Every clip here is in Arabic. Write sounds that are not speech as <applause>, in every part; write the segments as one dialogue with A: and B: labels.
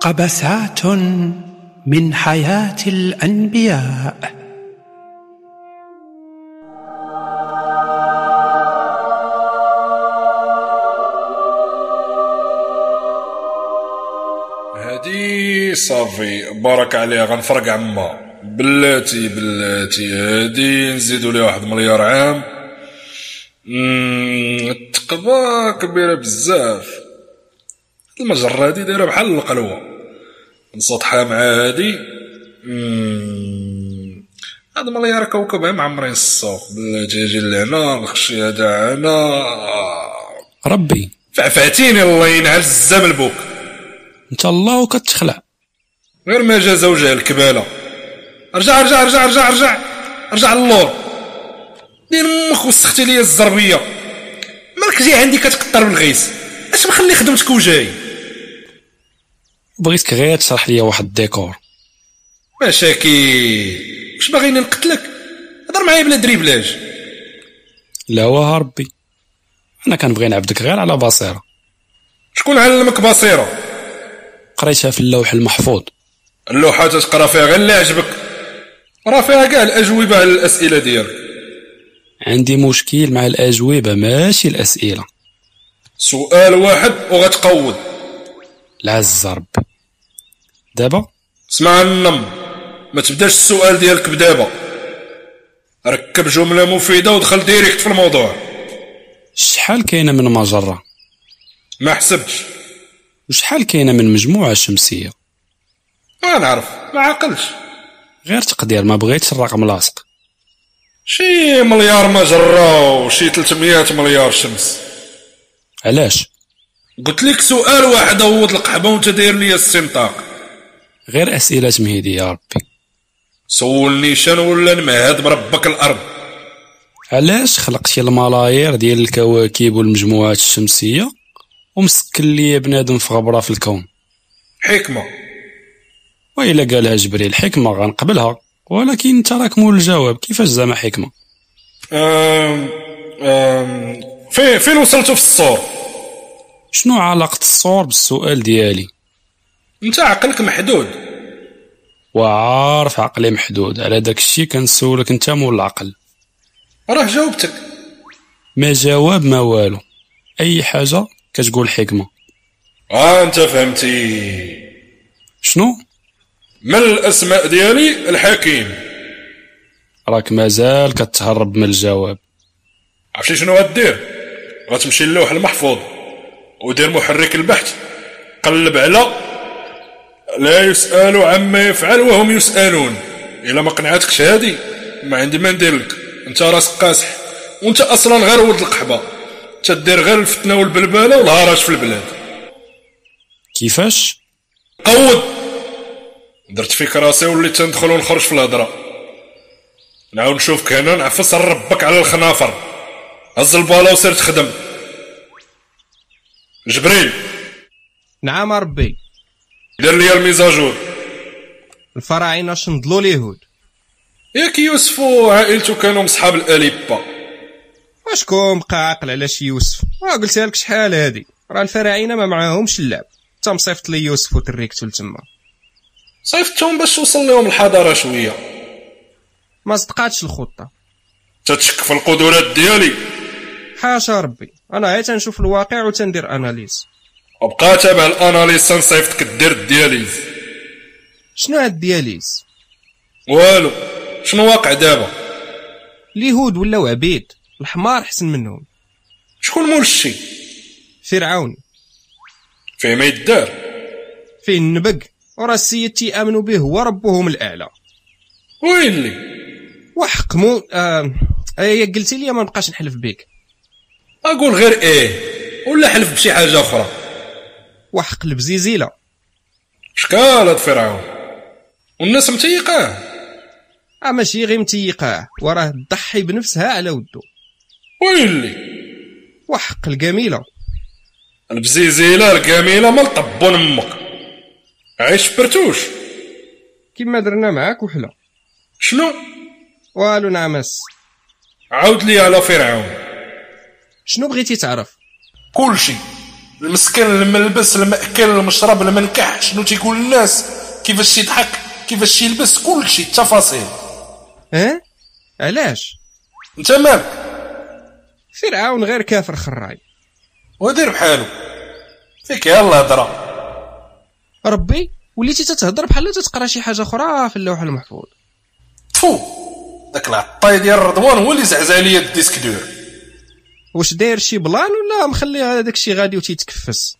A: قبسات من حياة الأنبياء
B: هادي صافي بارك عليها غنفرق عما بلاتي بلاتي هادي نزيدو ليها واحد مليار عام مم، التقبة كبيرة بزاف المجرة هادي دايرة بحال القلوة نسطحها مع هادي مم، هاد مليار كوكب عام عمرين السوق بلاتي اجي لهنا الخشي هدا هنا
C: ربي
B: فعفاتيني الله ينعل الزمن بوك
C: انت الله وكتخلع
B: غير ما جاز وجه الكبالة ارجع ارجع ارجع ارجع ارجع ارجع للور دير مخ وسختي ليا الزربية مالك جاي عندي كتكثر بالغيث اش مخلي خدمتك وجاي
C: بغيتك غير تشرح لي واحد الديكور
B: مشاكي واش باغيني نقتلك هضر معايا بلا دريبلاج
C: لا واه ربي انا كنبغي نعبدك غير على بصيره
B: شكون علمك بصيرة
C: قريتها في اللوح المحفوظ
B: اللوحة تقرا فيها غير اللي عجبك راه فيها كاع الأجوبة على الأسئلة ديالك
C: عندي مشكل مع الاجوبه ماشي الاسئله
B: سؤال واحد وغتقود
C: العز ربي دابا
B: اسمع النم ما تبداش السؤال ديالك بدابا ركب جملة مفيدة ودخل ديريكت في الموضوع
C: شحال كاينه من مجره
B: ما حسبتش
C: وشحال كاينه من مجموعه شمسيه
B: ما نعرف ما عقلش
C: غير تقدير ما بغيتش الرقم لاصق
B: شي مليار مجرة وشي 300 مليار شمس
C: علاش
B: قلت لك سؤال واحد عوض القحبة وانت داير لي السنطاق
C: غير اسئله تمهيديه يا ربي
B: سولني شان ولا نمهد مربك الارض
C: علاش خلقتي الملايير ديال الكواكب والمجموعات الشمسيه ومسكن لي بنادم في غبره في الكون
B: حكمة
C: والا قالها جبريل حكمه غنقبلها ولكن انت راك مول الجواب كيفاش زعما حكمه
B: أم أم فين فين وصلتوا في الصور
C: شنو علاقه الصور بالسؤال ديالي
B: انت عقلك محدود
C: وعارف عقلي محدود على داك الشيء كنسولك انت مول العقل
B: راه جاوبتك
C: ما جواب ما والو اي حاجه كتقول حكمه
B: اه انت فهمتي
C: شنو
B: من الاسماء ديالي الحكيم
C: راك مازال كتهرب من الجواب
B: عرفتي شنو غدير غتمشي للوح المحفوظ ودير محرك البحث قلب على لا يسأل عما يفعل وهم يسألون الا ما قنعتكش هادي ما عندي ما ندير لك انت راسك قاسح وانت اصلا غير ولد القحبه تدير غير الفتنه والبلبله والهرج في البلاد
C: كيفاش
B: قود درت فيك راسي وليت تندخل ونخرج في الهضره نعاود نشوفك هنا نعفس ربك على الخنافر هز البالا وسير تخدم جبريل
D: نعم ربي
B: دير لي الميزاجور
D: الفراعنه شنضلوا اليهود
B: ياك يوسف وعائلته كانوا مصحاب الاليبا
D: واشكون بقى عاقل على شي يوسف راه قلتها لك شحال هادي راه الفراعنه ما معاهمش اللعب تا مصيفط لي يوسف وتريكتو لتما
B: صيفطتهم باش توصل لهم الحضاره شويه
D: ما صدقاتش الخطه
B: تتشك في القدرات ديالي
D: حاشا ربي انا غير تنشوف الواقع وتندير اناليز
B: وبقى تابع الاناليز تنصيفطك دير الدياليز
D: شنو هاد الدياليز
B: والو شنو واقع دابا
D: اليهود ولاو عبيد الحمار حسن منهم
B: شكون مول الشي
D: فرعون
B: فيه ما يدار
D: فيه النبق وراه السيد تيامنوا به هو ربهم الاعلى
B: ويلي
D: وحق مو آه... آه... قلتي لي ما نبقاش نحلف بك
B: اقول غير ايه ولا حلف بشي حاجه اخرى
D: وحق البزيزيله
B: شكال هاد فرعون والناس متيقاه
D: اه ماشي غير متيقاه وراه ضحي بنفسها على ودو
B: ويلي
D: وحق الجميله
B: البزيزيله الجميله مال طبون امك عيش برتوش
D: كما درنا معاك وحلا
B: شنو
D: والو نعم، نعمس
B: عاود لي على فرعون
D: شنو بغيتي تعرف
B: كل شيء المسكن الملبس المأكل المشرب المنكح شنو تيقول الناس كيفاش يضحك كيفاش يلبس كلشي التفاصيل
D: ها إيه؟ علاش
B: انت مالك
D: فرعون غير كافر خراي
B: ودير بحالو فيك يلا هضره
D: ربي وليتي تتهضر بحال تتقرا شي حاجه اخرى في اللوح المحفوظ
B: تفو داك العطاي ديال رضوان هو اللي زعزع ليا الديسك دور
D: واش داير شي بلان ولا مخلي هذاك الشي غادي وتيتكفس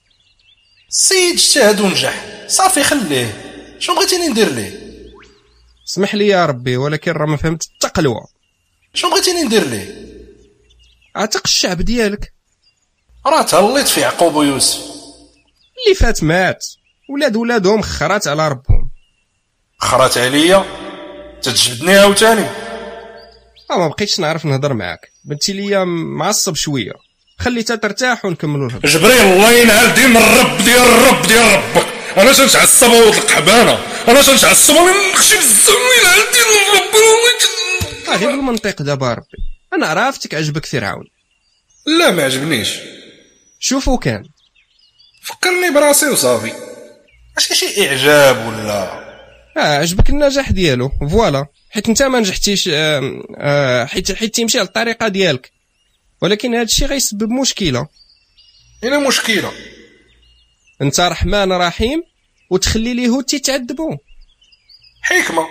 B: السيد اجتهد ونجح صافي خليه شنو بغيتيني ندير ليه
D: اسمح لي يا ربي ولكن راه ما فهمت حتى قلوه
B: شنو بغيتيني ندير ليه
D: عتق الشعب ديالك
B: راه تهليت في يعقوب ويوسف
D: اللي فات مات ولاد ولادهم خرات على ربهم
B: خرات عليا تتجبدني عاوتاني
D: اه ما بقيتش نعرف نهضر معاك بنتي ليا معصب شويه خليتها ترتاح ونكملوا الهضره
B: جبريل الله ينعل دين الرب ديال الرب ديال ربك انا تنتعصب وطلق انا انا تنتعصب من نخشي بزاف ينعل دين الرب
D: آه غير بالمنطق دابا ربي انا عرفتك عجبك فرعون
B: لا ما عجبنيش
D: شوفوا كان
B: فكرني براسي وصافي اش شي اعجاب ولا
D: اه عجبك النجاح ديالو فوالا حيت انت ما نجحتيش آم، آه حيت حيت تمشي على الطريقه ديالك ولكن هذا الشيء غيسبب مشكله
B: هنا مشكله
D: انت رحمن رحيم وتخلي اليهود تيتعذبوا
B: حكمه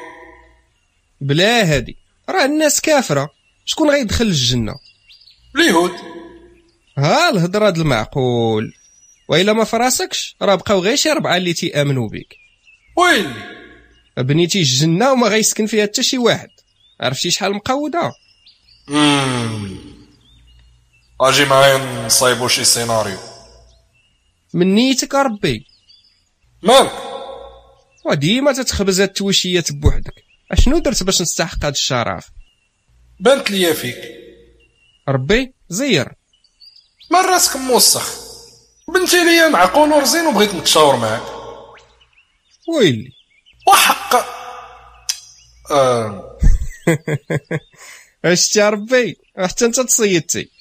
D: بلا هادي راه الناس كافره شكون غيدخل الجنه
B: اليهود
D: ها الهضره د المعقول والا ما فراسكش راه بقاو غير شي ربعه اللي تيامنوا بك
B: ويلي
D: بنيتي الجنه وما غيسكن فيها حتى شي واحد عرفتي شحال مقوده
B: اجي معايا نصايبو شي سيناريو
D: من نيتك ربي
B: مالك
D: وديما تتخبز هاد التويشيات بوحدك اشنو درت باش نستحق هاد الشرف
B: بانت ليا فيك
D: ربي زير
B: من راسك موسخ بنتي ليا معقول ورزين وبغيت نتشاور معاك
D: ويلي
B: وحق
D: <laughs>
B: آه.
D: اش يا ربي حتى انت تصيدتي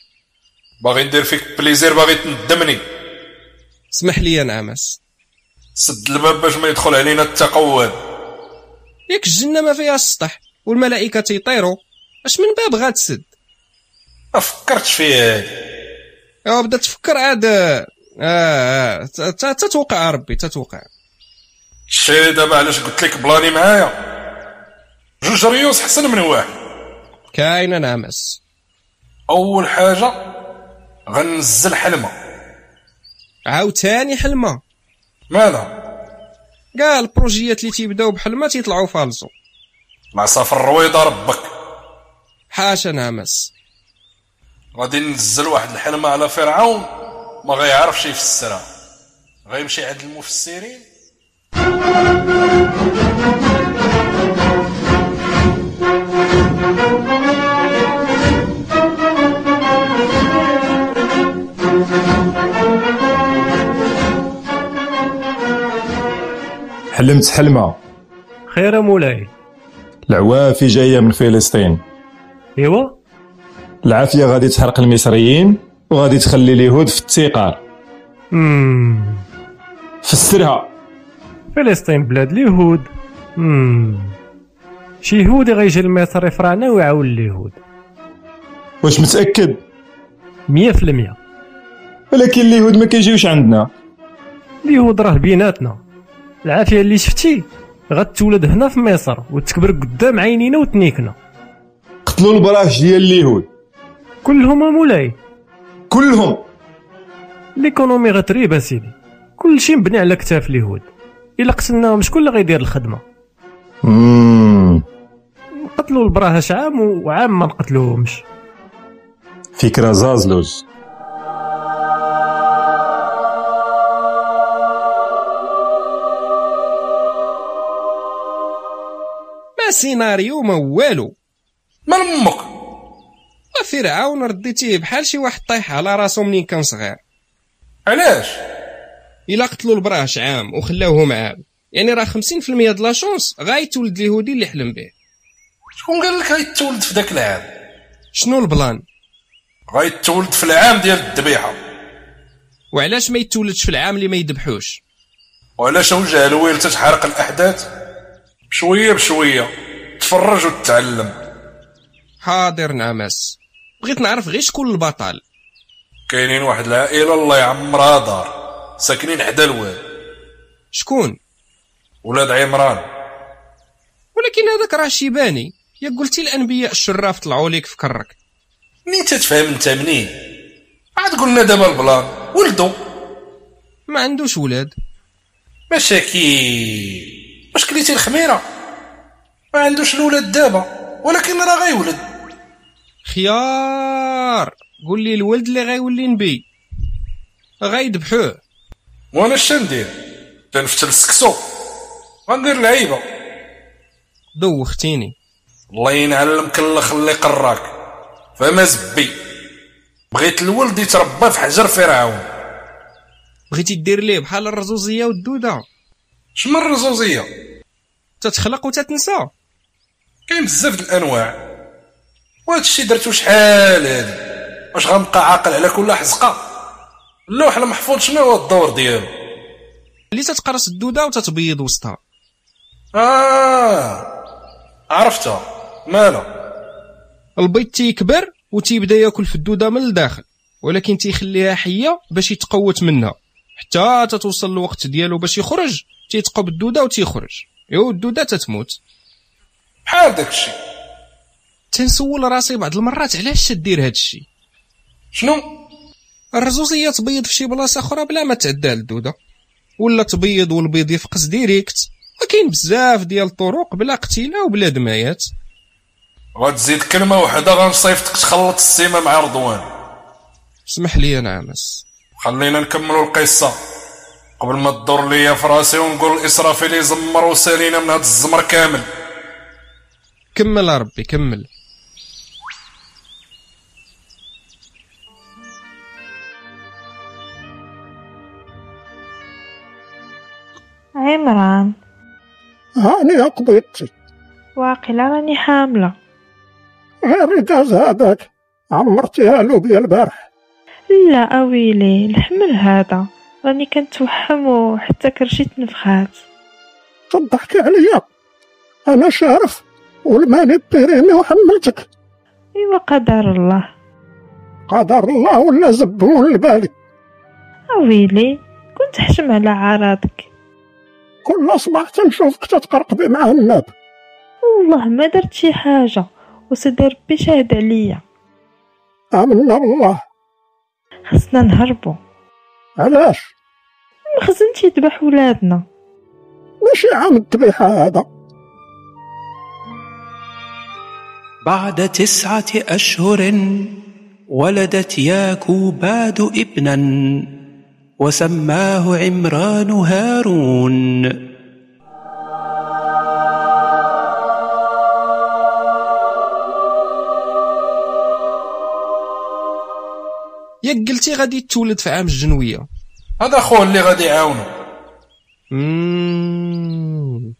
B: باغي ندير فيك بليزير باغي تندمني
D: اسمح لي يا نعمس
B: سد الباب باش ما يدخل علينا التقوان
D: ياك الجنه ما فيها السطح والملائكه تيطيروا اش من باب غتسد
B: ما فكرتش فيه هادي
D: ايوا بدا تفكر عاد آه، آه ت- ت- تتوقع ربي تتوقع
B: شي دابا علاش قلت لك بلاني معايا جوج ريوس حسن من واحد
D: كاينه نعمس
B: اول حاجه غنزل حلمه
D: عاوتاني حلمه
B: مالها
D: كاع البروجيات اللي تيبداو بحلمه تيطلعوا فالصو
B: العصا الرويضه ربك
D: حاشا نعمس
B: غادي نزل واحد الحلمه على فرعون ما غيعرفش يفسرها غيمشي عند المفسرين
E: حلمت حلمة
F: خير مولاي
E: العوافي جاية من فلسطين
F: ايوا
E: العافية غادي تحرق المصريين وغادي تخلي اليهود في التيقار
F: امم
E: فسرها
F: فلسطين بلاد اليهود امم شي يهودي غيجي لمصر يفرعنا ويعاون اليهود
E: واش متأكد
F: 100%
E: ولكن اليهود ما كيجيوش عندنا
F: اليهود راه بيناتنا العافيه اللي شفتي غتولد هنا في مصر وتكبر قدام عينينا وتنيكنا
E: قتلوا البراش ديال اليهود
F: كلهم مولاي
E: كلهم
F: ليكونومي غتريب اسيدي كلشي مبني على كتاف اليهود الا قتلناهم شكون اللي غيدير الخدمه
E: مم.
F: نقتلوا البراهش عام وعام ما نقتلوهمش
E: فكرة زازلوز
D: ما سيناريو ما والو
B: مال امك
D: فرعون رديتيه بحال شي واحد طايح على راسو منين كان صغير
B: علاش
D: الا قتلوا البراش عام وخلاوه معاه يعني راه 50% د لا شونس غايتولد اليهودي اللي حلم به
B: شكون قال لك غيتولد في ذاك العام
D: شنو البلان
B: غيتولد في العام ديال الذبيحه
D: وعلاش ما يتولدش في العام اللي ما يذبحوش
B: وعلاش اوجه الوالده تحرق الاحداث شويه بشويه تفرج وتتعلم
D: حاضر نعمس بغيت نعرف غير شكون البطل
B: كاينين واحد العائله الله يعمرها دار ساكنين حدا الواد
D: شكون
B: ولاد عمران
D: ولكن هذاك راه شيباني يا قلتي الانبياء الشراف طلعوا ليك في كرك
B: منين تتفهم انت منين عاد قلنا دابا البلان ولدو
D: ما عندوش ولاد
B: مشاكل واش كليتي الخميره ما عندوش الولاد دابا ولكن راه غيولد
D: خيار قول لي الولد اللي غيولي نبي غيذبحوه
B: وانا اش ندير تنفتل السكسو غندير لعيبه
D: دوختيني
B: الله ينعلمك اللخ اللي قراك فما زبي بغيت الولد يتربى في حجر فرعون
D: بغيتي دير ليه بحال الرزوزيه والدوده
B: شمن الرزوزيه
D: تتخلق وتتنسى
B: كاين بزاف د الانواع وهذا الشيء درتو شحال هادي واش غنبقى عاقل على كل حزقه اللوح المحفوظ شنو هو الدور ديالو
D: اللي تتقرص الدوده وتتبيض وسطها
B: اه عرفتها مالا
D: البيض تيكبر وتيبدا ياكل في الدوده من الداخل ولكن تيخليها حيه باش يتقوت منها حتى تتوصل الوقت ديالو باش يخرج تيتقب الدوده وتيخرج يو الدوده تتموت
B: بحال داكشي
D: تنسول راسي بعض المرات علاش تدير هاد الشيء
B: شنو
D: الرزوزيه تبيض في شي بلاصه اخرى بلا ما تعدى الدوده ولا تبيض والبيض يفقس ديريكت وكاين بزاف ديال الطرق بلا قتيله وبلا دمايات
B: غتزيد كلمه وحده غنصيفطك تخلط السيمه مع رضوان
D: اسمح لي انا عمس
B: خلينا نكملوا القصه قبل ما تدور ليا في راسي ونقول الاسرافيل يزمر وسالينا من هاد الزمر كامل
D: كمل يا ربي كمل
G: عمران
H: هاني قضيتي
G: واقيلا راني حاملة
H: غير الداز هذاك عمرتيها لوبيا البارح
G: لا أويلي الحمل هذا راني كنتوحم وحتى كرشي تنفخات
H: تضحكي عليا انا شارف والماني بيريني وحملتك
G: إوا أيوة، قدر الله
H: قدر الله ولا زبون لبالي
G: أويلي كنت حشم على عراضك
H: كل صباح تنشوفك تتقرقبي مع الناب
G: والله ما درت شي حاجة وسيدي ربي شاهد عليا
H: امنا بالله
G: خصنا نهربو
H: علاش
G: المخزن تيذبح ولادنا
H: ماشي عام الذبيحه هذا
A: بعد تسعة أشهر ولدت ياكوباد ابنا وسماه عمران هارون
D: ياك قلتي غادي تولد في عام الجنويه
B: هذا خوه اللي غادي يعاونه
D: مم.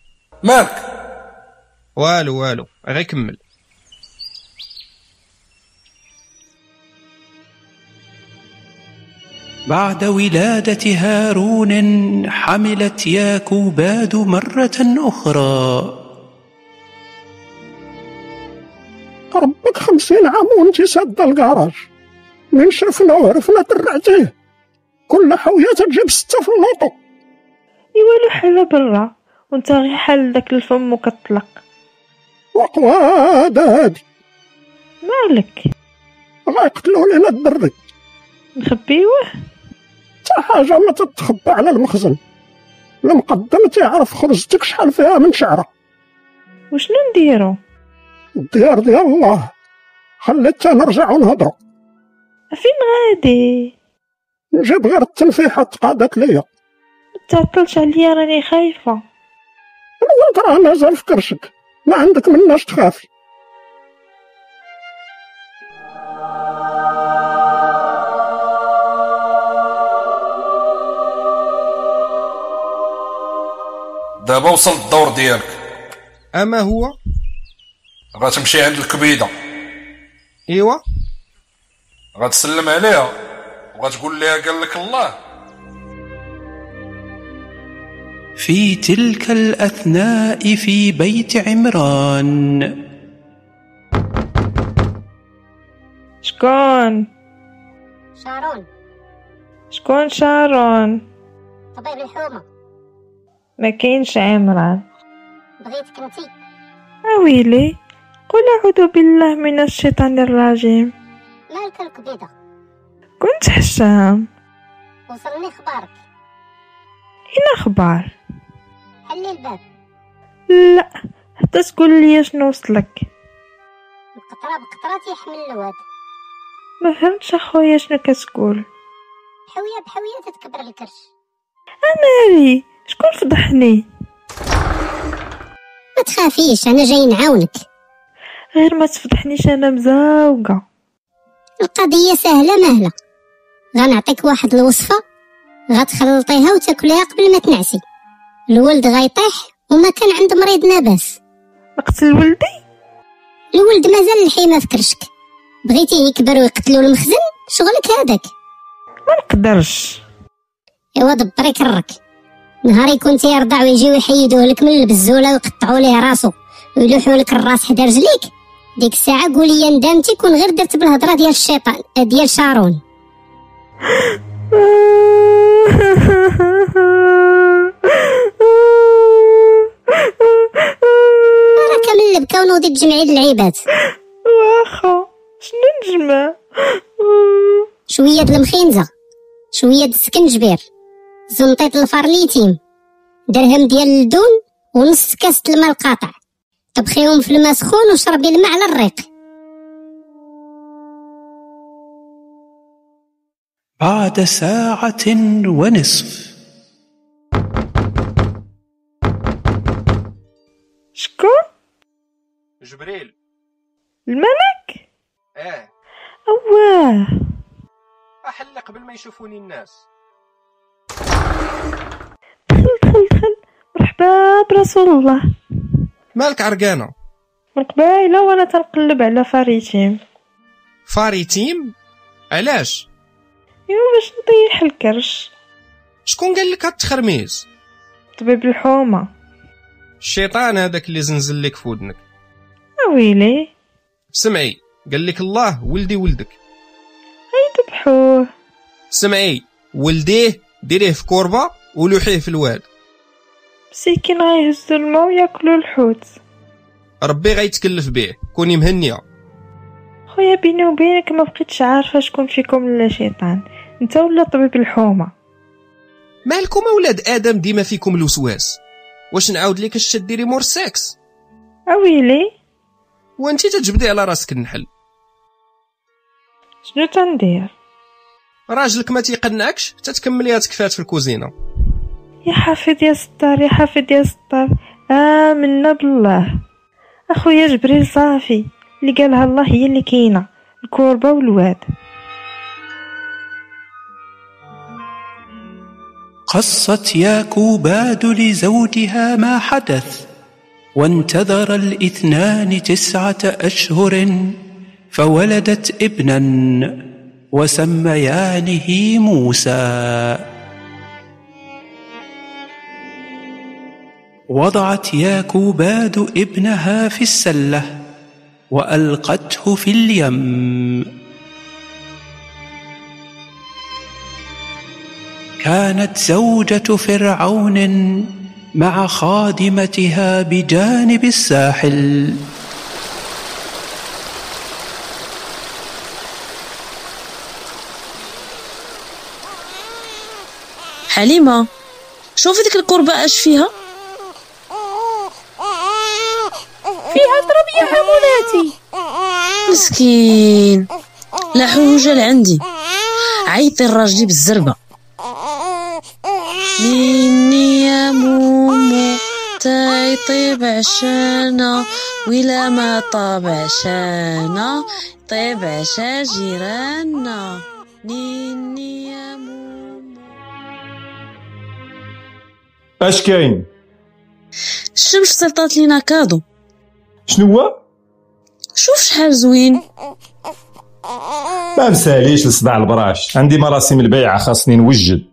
B: مالك
D: والو والو غير كمل
A: بعد ولادة هارون حملت ياكوباد مرة أخرى
H: ربك خمسين عام وانت سادة الكراج من شفنا وعرفنا درعتيه كل حوية تجيب ستة في اللوطو
G: إوا لوحة برا وانت غي حال داك الفم وكطلق
H: وقواد هادي
G: مالك
H: غيقتلوا لينا الدري
G: نخبيوه
H: حتى حاجة ما تتخبى على المخزن المقدم تيعرف خرجتك شحال فيها من شعرة
G: وشنو نديرو
H: الديار ديال الله خليت نرجع ونهضروا
G: فين غادي
H: نجيب غير التنفيحة تقادت ليا
G: متعطلش عليا راني خايفة
H: الولد راه مازال في كرشك ما عندك مناش تخافي
B: دابا وصل الدور ديالك
D: اما هو
B: غتمشي عند الكبيده
D: ايوا
B: غتسلم عليها وغتقول لها قال لك الله
A: في تلك الأثناء في بيت عمران
G: شكون
I: شارون
G: شكون شارون
I: طبيب الحومة
G: ما كاينش عمران
I: بغيتك انتي
G: آه اويلي قل اعوذ بالله من الشيطان الرجيم
I: مالك الكبيدة
G: كنت حشام
I: وصلني خبارك
G: اين اخبار
I: حلي الباب
G: لا حتى تقول لي شنو وصلك
I: القطرة بقطرة تيحمل الواد
G: ما فهمتش اخويا شنو كتقول
I: حوية بحوية تتكبر الكرش
G: مالي شكون فضحني
I: ما تخافيش انا جاي نعاونك
G: غير ما تفضحنيش انا مزوقه
I: القضية سهلة مهلة غنعطيك واحد الوصفة غتخلطيها وتاكليها قبل ما تنعسي الولد غيطيح وما كان عند مريض نبس
G: نقتل ولدي
I: الولد مازال الحيمة في كرشك بغيتيه يكبر ويقتلو المخزن شغلك هذاك
G: ما نقدرش
I: ايوا دبري كرك نهار يكون تيرضع ويجيو يحيدوه لك من البزوله ويقطعوا ليه راسو ويلوحوا لك الراس حدا رجليك ديك الساعه قولي يا ندمتي كون غير درت بالهضره ديال الشيطان ديال شارون راك من البكا ونوضي تجمعي اللعيبات
G: واخا شنو نجمع
I: شويه د المخينزه شويه د السكنجبير زنطيط الفرليتين درهم ديال الدون ونص كاس د الماء القاطع طبخيهم في الماء سخون وشربي الماء على الريق
A: بعد ساعة ونصف
G: شكون
D: جبريل
G: الملك
D: اه
G: اواه
D: احل قبل ما يشوفوني الناس
G: دخل دخل دخل مرحبا برسول الله
D: مالك عرقانه
G: من قبيله وانا تنقلب على فريتيم
D: فاريتيم علاش
G: ايوا باش نطيح الكرش
D: شكون قال لك هاد التخرميز
G: طبيب الحومه
D: الشيطان هذاك اللي زنزل لك في ودنك
G: اويلي
D: سمعي قال لك الله ولدي ولدك
G: ذبحوه
D: سمعي ولديه ديريه في كوربه ولوحيه في الواد
G: مسكين غيهزو الماء وياكلو الحوت
D: ربي غيتكلف به كوني مهنيه
G: خويا بيني وبينك ما بقيتش عارفه شكون فيكم ولا شيطان انت ولا طبيب الحومه
D: مالكم اولاد ادم ديما فيكم الوسواس واش نعاود لك اش ديري مور سكس
G: اويلي
D: وانت تجبدي على راسك النحل
G: شنو تندير
D: راجلك ما تيقنعكش تتكمليها تكفات في الكوزينه
G: يا حافظ يا ستار يا حافظ يا ستار آمنا بالله أخويا جبريل صافي اللي قالها الله هي اللي كاينة الكوربة والواد
A: قصت ياكوباد لزوجها ما حدث وانتظر الاثنان تسعة أشهر فولدت ابنا وسميانه موسى وضعت ياكوباد ابنها في السلة وألقته في اليم كانت زوجة فرعون مع خادمتها بجانب الساحل
J: حليمة شوفي ديك القربة اش فيها
I: فيها تراب يا حمولاتي
J: مسكين لا حوجة لعندي عيطي لراجلي بالزربة مني يا مومو تيطيب عشانا ولا ما طاب عشانا طيب عشا جيراننا نيني يا مومو
E: اش كاين
J: الشمس سلطات لينا كادو
E: شنو هو
J: شوف شحال زوين
E: ما مساليش لصداع البراش عندي مراسم البيعة خاصني نوجد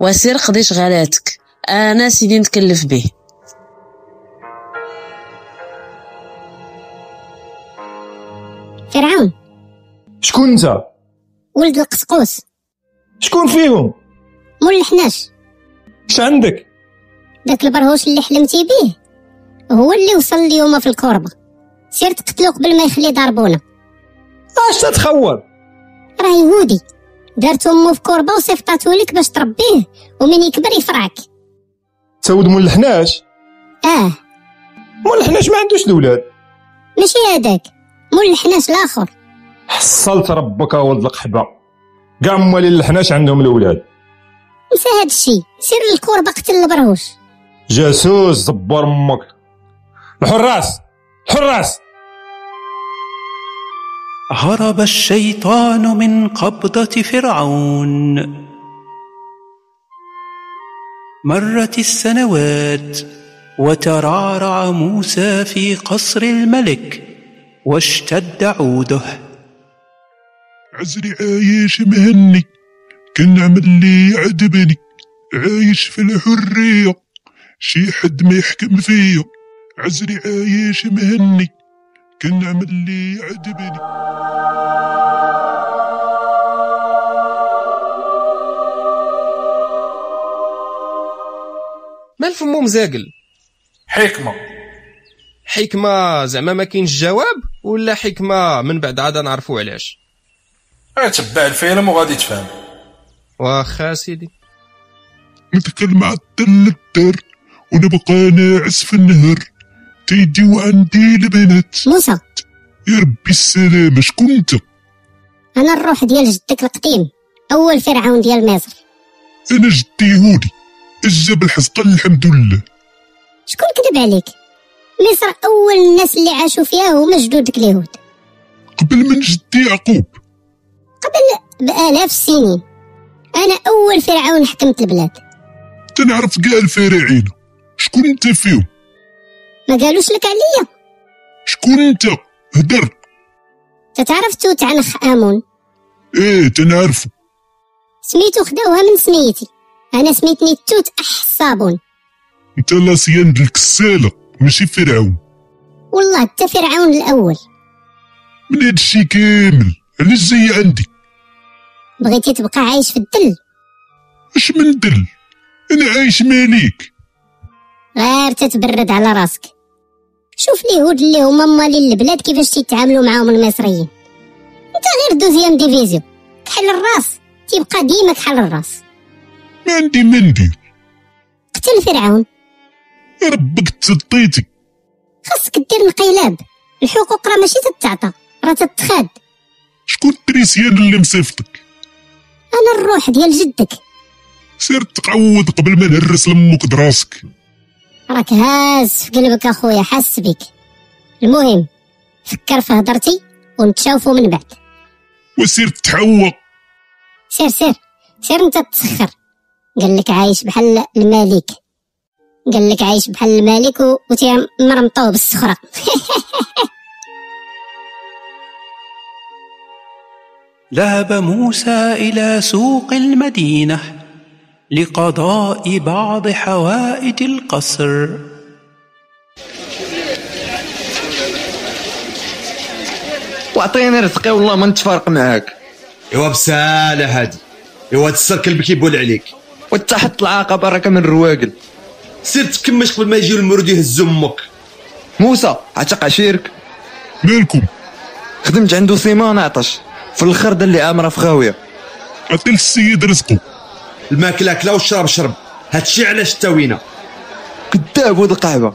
J: وسير قضي شغالاتك انا سيدي نتكلف به
I: فرعون
E: شكون انت
I: ولد القسقوس
E: شكون فيهم
I: مول الحناش
E: اش عندك
I: داك البرهوش اللي حلمتي بيه هو اللي وصل اليوم في الكربة سير تقتلو قبل ما يخلي ضربونا
E: اش تتخور
I: راه يهودي دارت امو في كربة وصيفطاتو لك باش تربيه ومن يكبر يفرعك
E: تاود مول الحناش
I: اه
E: مول الحناش ما عندوش الولاد
I: ماشي هذاك مول الحناش الاخر
E: حصلت ربك يا ولد القحبة كاع موالين الحناش عندهم الولاد
I: نسى هاد الشي سير للكربة قتل البرهوش
E: جاسوس زبر امك الحراس الحراس
A: هرب الشيطان من قبضة فرعون مرت السنوات وترعرع موسى في قصر الملك واشتد عوده
K: عزري عايش مهني كنعمل اللي يعذبني عايش في الحرية شي حد ما يحكم فيا عزري عايش مهني كنعمل اللي يعذبني
D: مال فمو مزاقل
B: حكمة
D: حكمة زعما ما كاينش جواب ولا حكمة من بعد عاد نعرفو علاش
B: تبع الفيلم وغادي تفهم
D: واخا سيدي
K: نتكل مع الدل الدر ونبقى ناعس في النهر تيجيو عندي البنات
I: موسى
K: يا ربي السلامة شكون انت
I: انا الروح ديال جدك القديم اول فرعون ديال مصر
K: انا جدي يهودي الجبل حزقل الحمد لله
I: شكون كذب عليك مصر اول الناس اللي عاشوا فيها هما جدودك اليهود
K: قبل من جدي يعقوب
I: قبل بالاف السنين انا اول فرعون حكمت البلاد
K: تنعرف كاع الفراعنة شكون انت فيهم
I: ما قالوش لك عليا
K: شكون انت هدر
I: تتعرف توت عنخ امون
K: ايه تنعرفو
I: سميتو خداوها من سميتي انا سميتني توت اح الصابون
K: انت لاسيان الكسالة ماشي فرعون
I: والله انت فرعون الاول
K: من هادشي كامل علاش جاي عندي
I: بغيتي تبقى عايش في الدل
K: اش من دل انا عايش ماليك
I: غير تتبرد على راسك شوف اليهود اللي هما مالين البلاد كيفاش تيتعاملوا معاهم المصريين انت غير دوزيام ديفيزيون كحل الراس تيبقى ديما كحل الراس
K: ما عندي ما ندير
I: قتل فرعون
K: يا ربك تسطيتي
I: خاصك دير انقلاب الحقوق راه ماشي تتعطى راه تتخاد
K: شكون التريسيان اللي مصيفطك
I: انا الروح ديال جدك
K: سير تقعود قبل ما نهرس لمك دراسك
I: راك هاز في قلبك اخويا حاس بك المهم فكر في هضرتي ونتشافوا من بعد
K: وسير تحوق
I: سير سير سير انت تسخر قال لك عايش بحال الملك قال لك عايش بحال الملك و... وتيمرمطوه بالصخره
A: ذهب موسى الى سوق المدينه لقضاء بعض حوائج القصر
L: وعطيني رزقي والله ما نتفارق معاك
M: ايوا بساله هادي ايوا هاد السر كلب كيبول عليك
L: وانت حط العاقبه راك من رواقل
M: سير تكمش قبل ما يجيو المرود يهزو امك
L: موسى عتق عشيرك
K: مالكم
L: خدمت عنده سيمانه عطش في الاخر دار لي عامره في خاويه
K: عطي للسيد رزقه
M: الماكله اكله والشراب شرب هادشي علاش تاوينا
L: كذاب ولد القعبه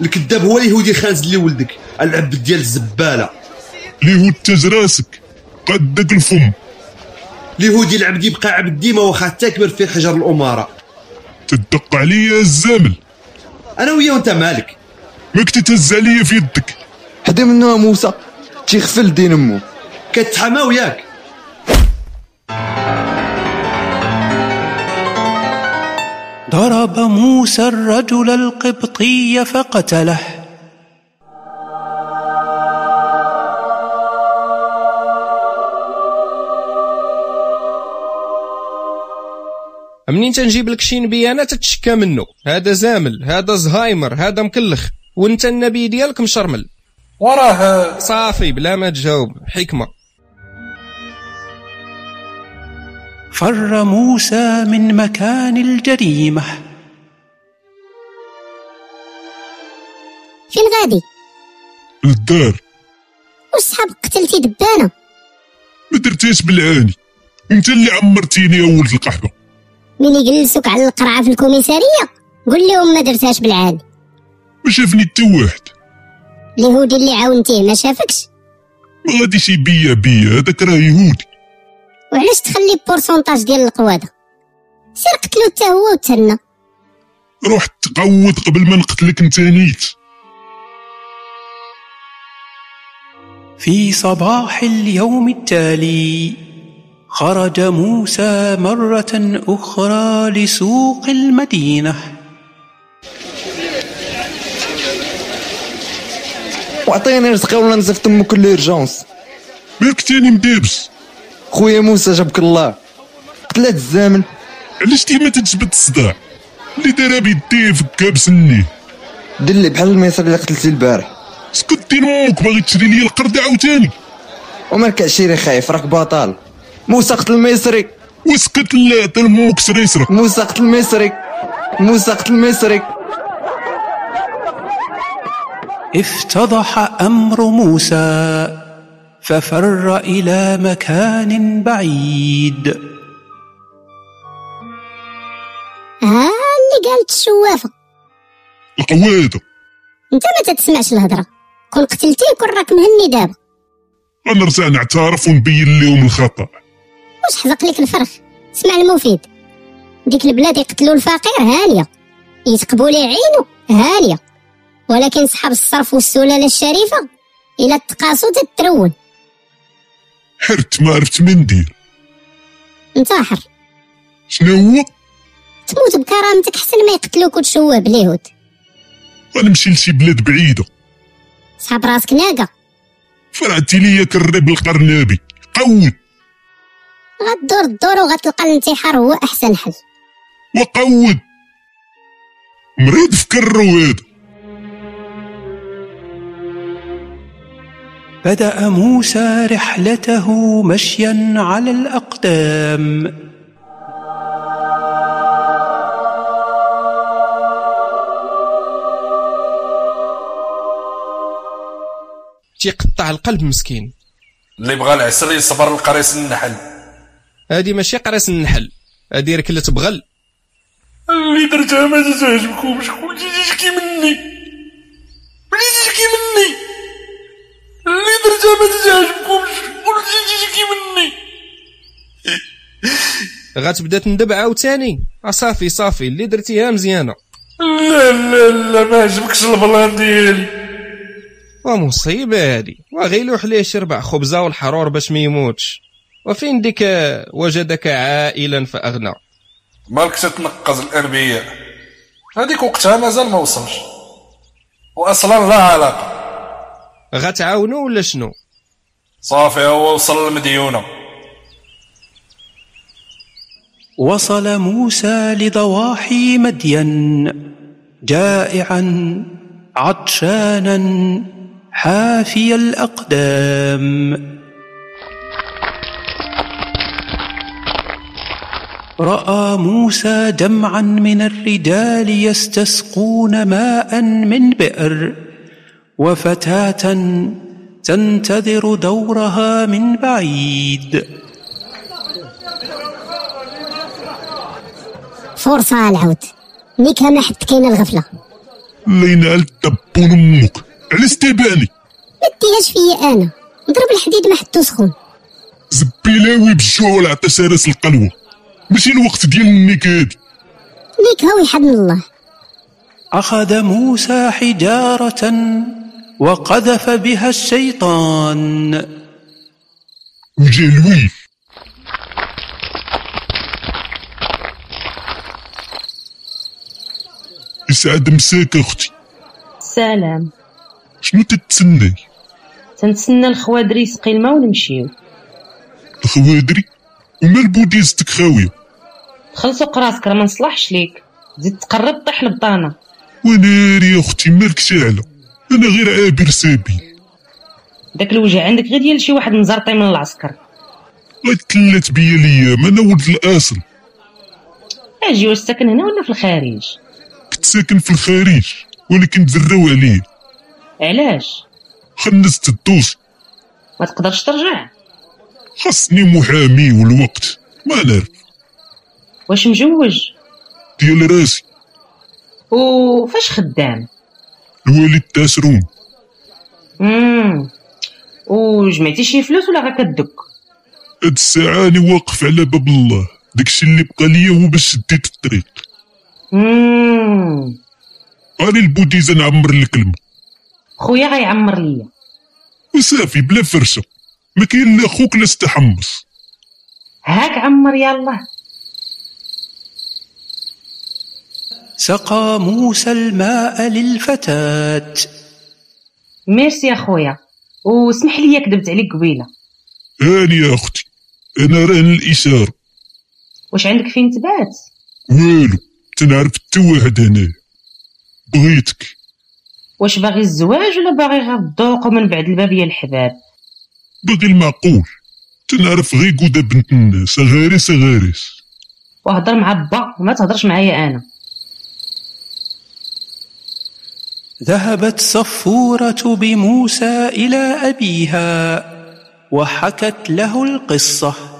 M: الكذاب هو اليهودي خانز اللي ولدك العبد ديال الزباله
K: اليهود تاج راسك قد داك الفم
M: اليهودي العبد يبقى عبد ديما واخا تكبر في حجر الاماره
K: تدق عليا الزامل
M: انا وياه وانت مالك
K: ما كنت تهز عليا في يدك
L: حدا منه موسى تيغفل دين امو
M: كتحامى وياك
A: ضرب موسى الرجل القبطي فقتله
D: منين تنجيب لك شي نبي انا تتشكى منه هذا زامل هذا زهايمر هذا مكلخ وانت النبي ديالك مشرمل وراه صافي بلا ما تجاوب حكمه
A: فر موسى من مكان الجريمة
I: <laughs> فين غادي
K: للدار
I: واش صحاب قتلتي دبانه
K: ما درتيش بالعاني انت اللي عمرتيني يا ولد القحبه
I: من يجلسوك على القرعه في الكوميساريه قول لهم ما درتهاش بالعاد
K: ما شافني حتى واحد
I: اليهودي اللي عاونتيه ما شافكش
K: ما غاديش يبيع بيا هذاك راه يهودي
I: وعلاش تخلي بورسونتاج ديال القواده سير قتلو حتى هو وتهنى
K: روح تقود قبل ما نقتلك انت نيت
A: في صباح اليوم التالي خرج موسى مرة أخرى لسوق المدينة
L: وعطيني رزقي ولا نزفت امك ليرجونس
K: مالك تاني مدابس
L: خويا موسى جابك الله قتلات الزامل
K: علاش ديما تتجبد الصداع اللي دارها بيديه فكها بسنيه
L: دلي بحال الميسر اللي قتلتي البارح
K: سكت دين امك باغي تشري لي القرد عاوتاني
L: وما ركعشيري خايف راك بطال موسى قتل المصري
K: وسكت اللي عطي لموك سريسرك
L: موسى قتل المصري موسى قتل المصري
A: افتضح أمر موسى ففر إلى مكان بعيد
I: ها اللي قالت الشوافه
K: القواده
I: انت ما تتسمعش الهضره كون قتلتيه كون راك مهني دابا
K: غنرجع نعترف ونبين لهم الخطا
I: واش حزق لك الفرخ اسمع المفيد ديك البلاد يقتلوا الفقير هانيه يتقبوا ليه عينه هانيه ولكن صحاب الصرف والسلاله الشريفه الى تقاسوا تترون
K: حرت ما عرفت ما ندير
I: انتحر
K: شنو هو
I: تموت بكرامتك حسن ما يقتلوك وتشوه باليهود
K: غنمشي لشي بلاد بعيده
I: صحاب راسك ناقه
K: فرعتي ليا كالرب القرنابي قود
I: غدور الدور وغتلقى الانتحار هو احسن حل
K: وقود مريض في كرو هذا
A: بدأ موسى رحلته مشيا على الأقدام
D: تيقطع القلب مسكين
B: اللي بغى العسل يصبر القريص النحل
D: هادي ماشي قراص النحل هادي ركله بغل
B: اللي درتها ما تتعجبكمش وليتي تشكي مني وليتي تشكي مني اللي درتها ما تتعجبكمش وليتي تشكي مني
D: غتبدا تندب عاوتاني آه صافي صافي اللي درتيها مزيانه
B: لا لا لا ما عجبكش البلان ديالي
D: ومصيبه هادي وغيلوح ليه شربع خبزه والحرور باش ما يموتش وفين ديك آه، وجدك عائلا فاغنى
B: مالك تتنقز الانبياء هذيك وقتها مازال ما وصلش واصلا لا علاقه
D: غتعاونو ولا شنو
B: صافي هو وصل المديونه
A: وصل موسى لضواحي مدين جائعا عطشانا حافي الأقدام رأى موسى جمعا من الرجال يستسقون ماء من بئر وفتاة تنتظر دورها من بعيد
I: فرصه العود ملي كان حد كاينه الغفله
K: اللي ينعل الدبون امك علاش تباني
I: ما ديهاش فيا انا نضرب الحديد ما حدو سخون
K: زبيلاوي بالجوع والعطش سارس القلوه ماشي الوقت ديال النيك هادي
I: ليك هاوي حد من الله
A: أخذ موسى حجارة وقذف بها الشيطان
K: وجا لوي يسعد مساك اختي
N: السلام
K: شنو تتسناي
N: تنتسنى الخوادري يسقي الماء ونمشيو
K: الخوادري ومال بوديزتك خاويه
N: خلص قراسك راه ما نصلحش ليك تزيد تقرب طيح للبطانه
K: وناري يا اختي مالك شاعله انا غير عابر سابي
N: داك الوجه عندك غير ديال شي واحد مزرطي من العسكر
K: غير تلات بيا ليام انا ولد الاصل
N: اجي واش ساكن هنا ولا في الخارج
K: كنت ساكن في الخارج ولكن تزراو عليه
N: علاش
K: خلصت الدوس
N: ما تقدرش ترجع
K: خاصني محامي والوقت ما نعرف
N: واش مجوج
K: ديال راسي
N: وفاش خدام
K: الوالد تاسرون
N: امم وجمعتي شي فلوس ولا غير كدك
K: هاد الساعة أنا واقف على باب الله داكشي اللي بقى ليا هو باش شديت الطريق
N: امم
K: أنا البوديزة نعمر الكلمة
N: خويا غيعمر ليا
K: وصافي بلا فرشة ما كاين لا خوك لا استحمص
N: هاك عمر يالله
A: سقى موسى الماء للفتاة
N: ميرسي يا خويا وسمح لي كذبت عليك قبيله
K: هاني يا أختي أنا رهن الإشارة
N: واش عندك فين تبات
K: والو تنعرف حتى واحد هنايا بغيتك
N: واش باغي الزواج ولا باغي غير الذوق ومن بعد الباب هي الحباب
K: باغي المعقول تنعرف غير قودة بنت الناس غارس غارس
N: وهضر مع با وما تهضرش معايا انا
A: ذهبت صفورة بموسى إلى أبيها وحكت له القصة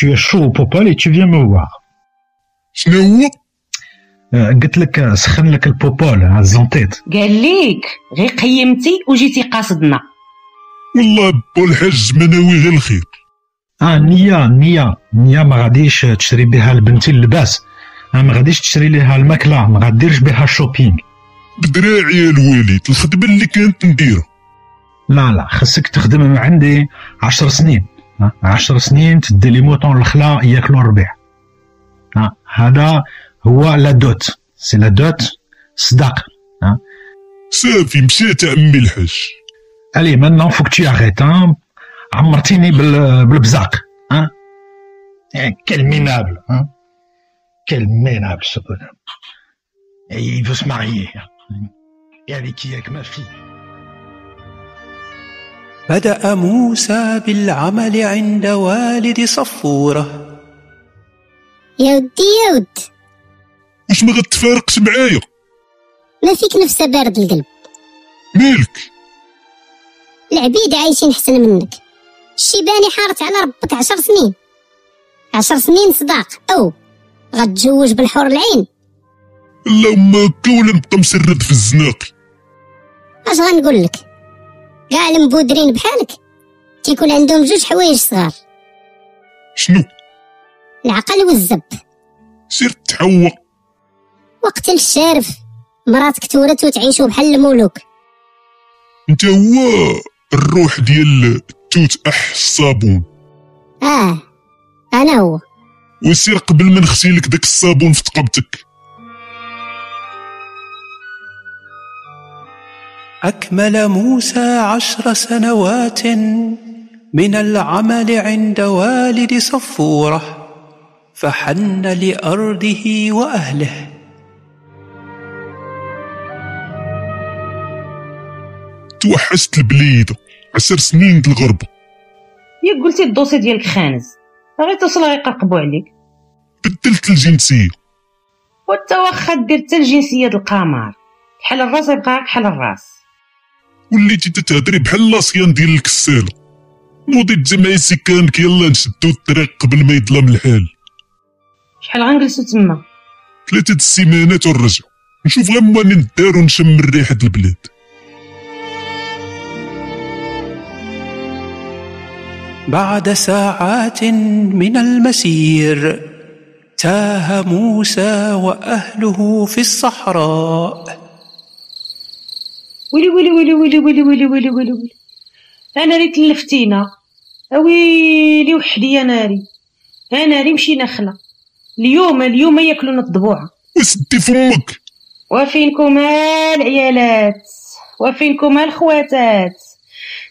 O: Tu es chaud au popal et tu viens me voir. Euh, قلت لك آه، سخن لك hein, البوبال على الزنطيط
N: قال ليك غير قيمتي وجيتي قاصدنا
K: والله با الحاج مناوي غير الخير
O: اه النية النية النية ما غاديش تشري بها لبنتي اللباس آه، ما غاديش تشري لها الماكلة ما غاديرش بها الشوبينغ
K: بدراعي يا الوالد الخدمة اللي كانت نديرها
O: لا لا خصك تخدم من عندي عشر سنين آه، عشر سنين تدي لي موطون الخلا ياكلوا الربيع آه، هذا هو لا دوت سي لا دوت صداق آه.
K: صافي مشات عمي الحاج
O: الي مانا فوك تي اغيت آه، Ah, عمرتيني بال- بالبزاق آه. إيه، كل مينابل آه. كل مينابل سو بونهوم إيه، il veut se marier hein. et avec qui avec ma fille
A: بدأ موسى بالعمل عند والد صفورة
I: يا ودي يا ود
K: واش ما غتفارقش معايا
I: ما فيك نفسه بارد القلب
K: مالك
I: العبيد عايشين حسن منك الشيباني حارت على ربك عشر سنين عشر سنين صداق او غتجوج بالحور العين
K: اللهم هكا ولا نبقى مسرد في الزناقي
I: اش غنقول لك كاع المبودرين بحالك تيكون عندهم جوج حوايج صغار
K: شنو
I: العقل والزب
K: سير تحوق
I: وقت الشارف مراتك تورث وتعيشوا بحال الملوك
K: انت هو الروح ديال توت اح الصابون
I: اه انا هو
K: وسير قبل ما نغسي لك داك الصابون في تقبتك
A: أكمل موسى عشر سنوات من العمل عند والد صفورة فحن لأرضه وأهله
K: توحشت البليده عشر سنين د الغربه
N: ياك قلتي الدوسي ديالك خانز غير توصل غيقرقبوا عليك
K: بدلت الجنسيه
N: وانت واخا دير حتى الجنسيه د القمر كحل الراس يبقى غير كحل الراس
K: وليتي تتهضري بحال لاصيان ديال الكساله نوضي تجمعي سكانك يلا نشدو الطريق قبل ما يظلم الحال
N: شحال غنجلسوا تما
K: ثلاثه د السيمانات ونرجع نشوف غير ما ندار ونشم من ريحه البلاد
A: بعد ساعات من المسير تاه موسى وأهله في الصحراء
N: ويلي ويلي ويلي ويلي ويلي ويلي ويلي ويلي ويلي انا اللي تلفتينا اويلي وحدي يا ناري انا ناري مشي نخله اليوم اليوم ياكلونا الضبوعه
K: وسدي فمك
N: وفينكم العيالات وفينكم الخواتات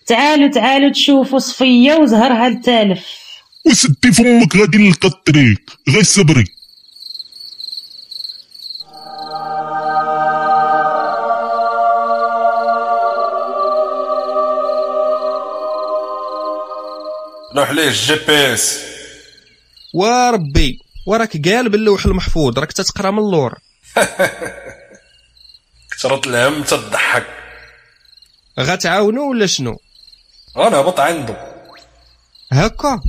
N: تعالوا تعالوا تشوفوا صفيه وزهرها التالف
K: وسدي فمك غادي نلقى الطريق غير صبري
B: روح ليه الجي بي اس
D: وربي وراك قال باللوح المحفوظ راك تتقرا من اللور
B: كثرت الهم تضحك
D: غتعاونو ولا شنو
B: انا هبط عنده
D: هكا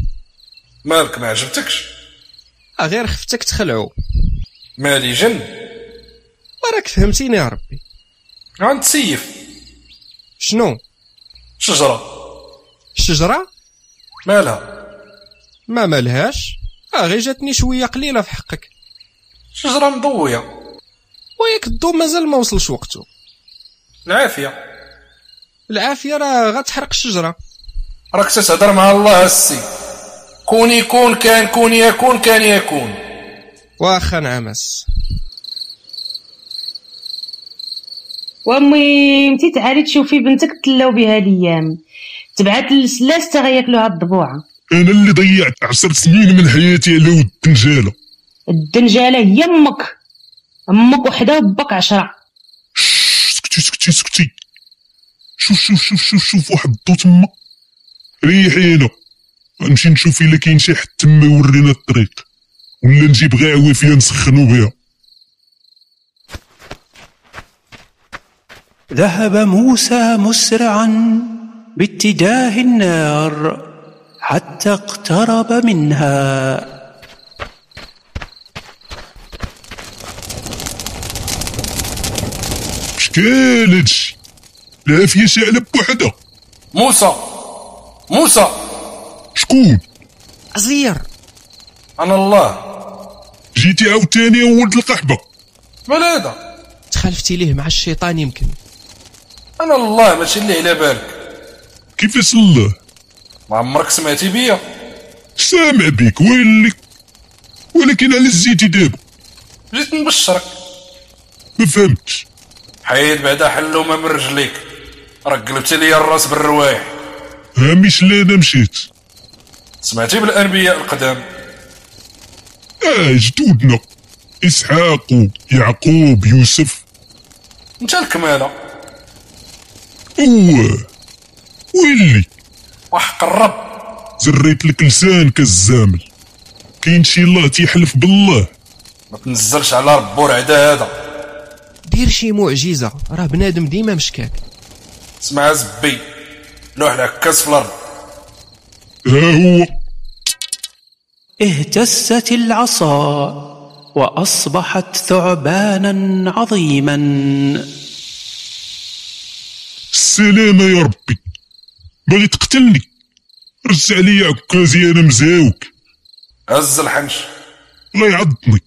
B: مالك ما عجبتكش
D: آه غير خفتك تخلعو
B: مالي جن
D: وراك فهمتيني يا ربي
B: غنتسيف
D: شنو
B: شجره
D: الشجره
B: مالها
D: ما مالهاش اه غير جاتني شويه قليله في حقك
B: شجره مضويه
D: وياك الضو مازال ما وصلش وقته
B: العافيه
D: العافيه راه غتحرق الشجره
B: راك تتهضر مع الله السي كون يكون كان كون يكون كان يكون
D: واخا نعمس
N: وامي متي تعالي تشوفي بنتك تلاو بها الايام تبعت للسلاس تا غياكلوها الضبوعه
K: انا اللي ضيعت عشر سنين من حياتي على ود الدنجاله
N: الدنجاله هي امك امك وحده وباك عشرة
K: سكتي سكتي سكتي شوف شوف شوف شوف شوف واحد الضو تما ريحي انا غنمشي نشوف الا كاين شي حد تما يورينا الطريق ولا نجيب غير عوافيه نسخنو بها
A: ذهب موسى مسرعا باتجاه النار حتى اقترب منها
K: شكال هادشي العافيه شاعله بوحدها
B: موسى موسى
K: شكون
D: زير
B: انا الله
K: جيتي عاوتاني يا ولد القحبه
B: مال هذا
D: تخالفتي ليه مع الشيطان يمكن
B: انا الله ماشي اللي على بالك
K: كيفاش الله
B: ما عمرك سمعتي بيا
K: سامع بيك ويلي ولكن على الزيتي دابا
B: جيت نبشرك
K: ما فهمتش
B: حيد بعدا حلومه من رجليك راك قلبت لي الراس بالروايح
K: هامش لا انا مشيت
B: سمعتي بالانبياء القدام
K: اه جدودنا اسحاق يعقوب يوسف
B: انت الكماله
K: اوه ويلي
B: وحق الرب
K: زريت لك لسان كالزامل كاين شي الله تيحلف بالله
B: ما تنزلش على ربو العدا هذا
D: دير شي معجزه راه بنادم ديما مشكاك
B: اسمع زبي لوح العكاز في الارض
K: ها هو
A: اهتزت العصا واصبحت ثعبانا عظيما
K: السلامة يا ربي باغي تقتلني رجع لي عكازي انا مزاوك
B: هز الحنش
K: الله يعضني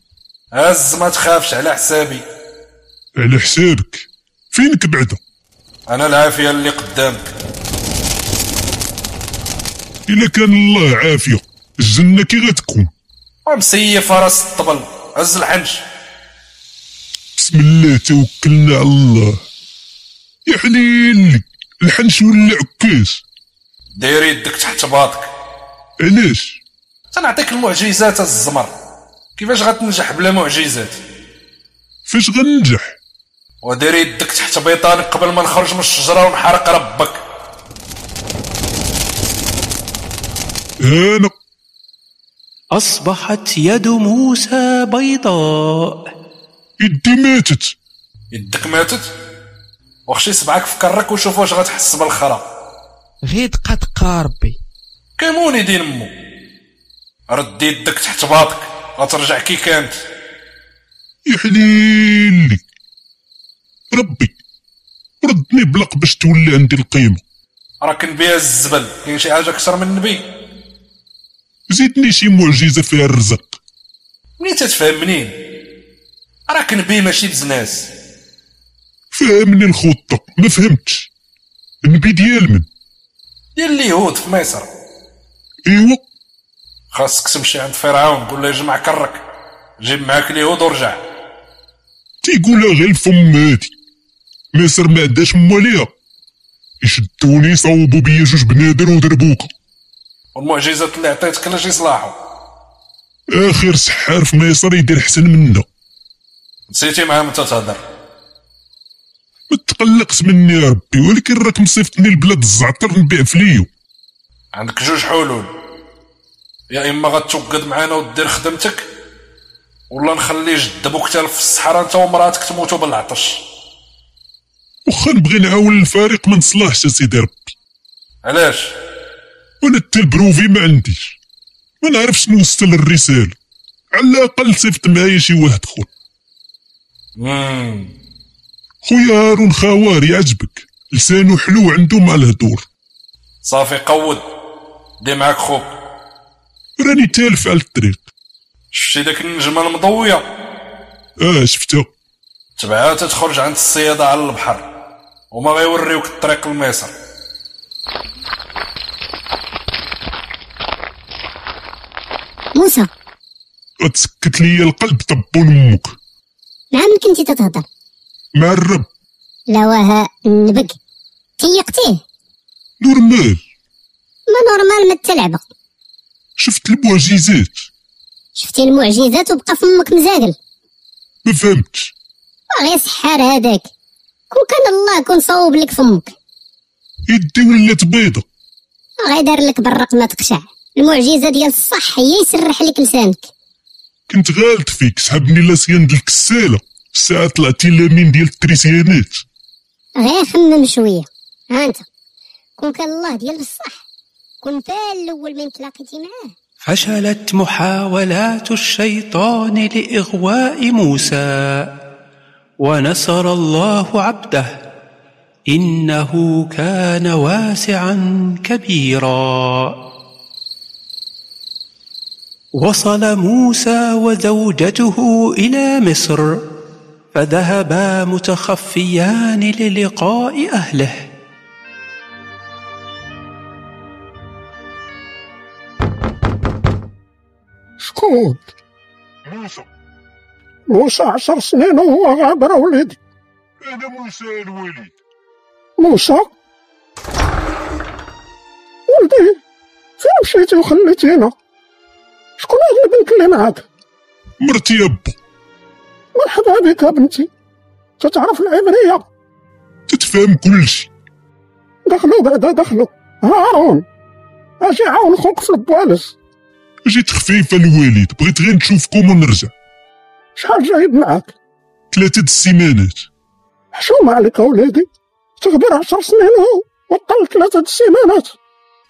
B: هز ما تخافش على حسابي
K: على حسابك فينك بعدا
B: انا العافيه اللي قدامك
K: الا كان الله عافية الجنة كي غتكون
B: ومسيف راس الطبل هز الحنش
K: بسم الله توكلنا على الله يا حليلي الحنش ولا عكاز
B: دير يدك تحت باطك
K: علاش
B: تنعطيك المعجزات الزمر كيفاش غتنجح بلا معجزات
K: فاش غنجح
B: ودير يدك تحت بيطانك قبل ما نخرج من الشجره ونحرق ربك
K: انا
A: اصبحت يد موسى بيضاء
K: يدي ماتت
B: يدك ماتت وخشي سبعك في كرك وشوف واش غتحس بالخرا
D: غير دقه دقه ربي
B: كيموني دين مو رد يدك تحت باطك غترجع كي كانت
K: يا حليلي ربي ردني بلق باش تولي عندي القيمة
B: راك نبيع الزبل كاين شي حاجه اكثر من النبي
K: زيدني شي معجزة فيها الرزق
B: منين تتفهم منين راك نبي ماشي بزناس
K: فهمني الخطة ما فهمتش النبي ديال من
B: ديال اليهود في مصر
K: ايوا
B: خاصك تمشي عند فرعون قول له يجمع كرك جيب معاك اليهود ورجع
K: تيقولها غير الفم هادي مصر ما عندهاش مواليها يشدوني صوبوا بيا جوج بنادر وضربوك
B: والمعجزات اللي عطيتك لاش يصلحوا
K: اخر سحار في مصر يدير حسن منا
B: نسيتي معاهم انت تهضر
K: ما تقلقش مني يا ربي ولكن راك مصيفطني لبلاد الزعتر نبيع فليو
B: عندك جوج حلول يا اما غتوقد معانا ودير خدمتك ولا نخلي جد بوك تالف في الصحراء انت ومراتك تموتوا بالعطش
K: واخا نبغي نعاون الفريق ما نصلحش اسيدي ربي
B: علاش
K: وانا حتى البروفي ما عنديش ما نعرفش نوصل الرساله على الاقل صيفط معايا شي واحد خويا
B: مم.
K: خويا هارون خواري يعجبك لسانو حلو عنده مع الهدور
B: صافي قود دي معاك خوك
K: راني تالف على الطريق
B: شتي داك النجمه المضويه
K: اه شفتها
B: تبعها تخرج عند الصياده على البحر وما غيوريوك الطريق لمصر
I: موسى
K: تسكت ليا القلب طبون امك
I: مع من كنتي تتهضر
K: مع الرب
I: لا واه النبك تيقتيه
K: نورمال
I: ما نورمال ما تلعبه
K: شفت المعجزات
I: شفتي المعجزات وبقى فمك مزاقل
K: ما فهمتش
I: غير سحار هذاك كون كان الله كون صوب لك فمك
K: يدي ولات بيضة
I: غير دار لك برق ما تقشع المعجزه ديال الصح هي يسرح لك لسانك
K: كنت غالط فيك سحبني لاسيان ديال الكسالة الساعة طلعتي لامين ديال التريسيانات
I: غير خمم شويه ها انت كون كان الله ديال بصح كون فال الاول من تلاقيتي معاه
A: فشلت محاولات الشيطان لاغواء موسى ونصر الله عبده انه كان واسعا كبيرا وصل موسى وزوجته الى مصر فذهبا متخفيان للقاء اهله
H: شكون
K: موسى
H: موسى عشر سنين وهو غابر وليدي
K: انا موسى الوليد
H: موسى ولدي فين مشيتي وخليتينا شكون هاد البنت اللي معاك
K: مرتي يابا
H: مرحبا بك يا بنتي تتعرف العبرية
K: تتفهم كلشي
H: دخلوا بعدا دخلوا هارون اجي عاون خوك في البوالس
K: جيت خفيفة الوالد بغيت غير نشوفكم ونرجع
H: شحال جايب معاك
K: ثلاثة د السيمانات
H: حشومة عليك وليدي تغبر عشر سنين هو وطل ثلاثة د السيمانات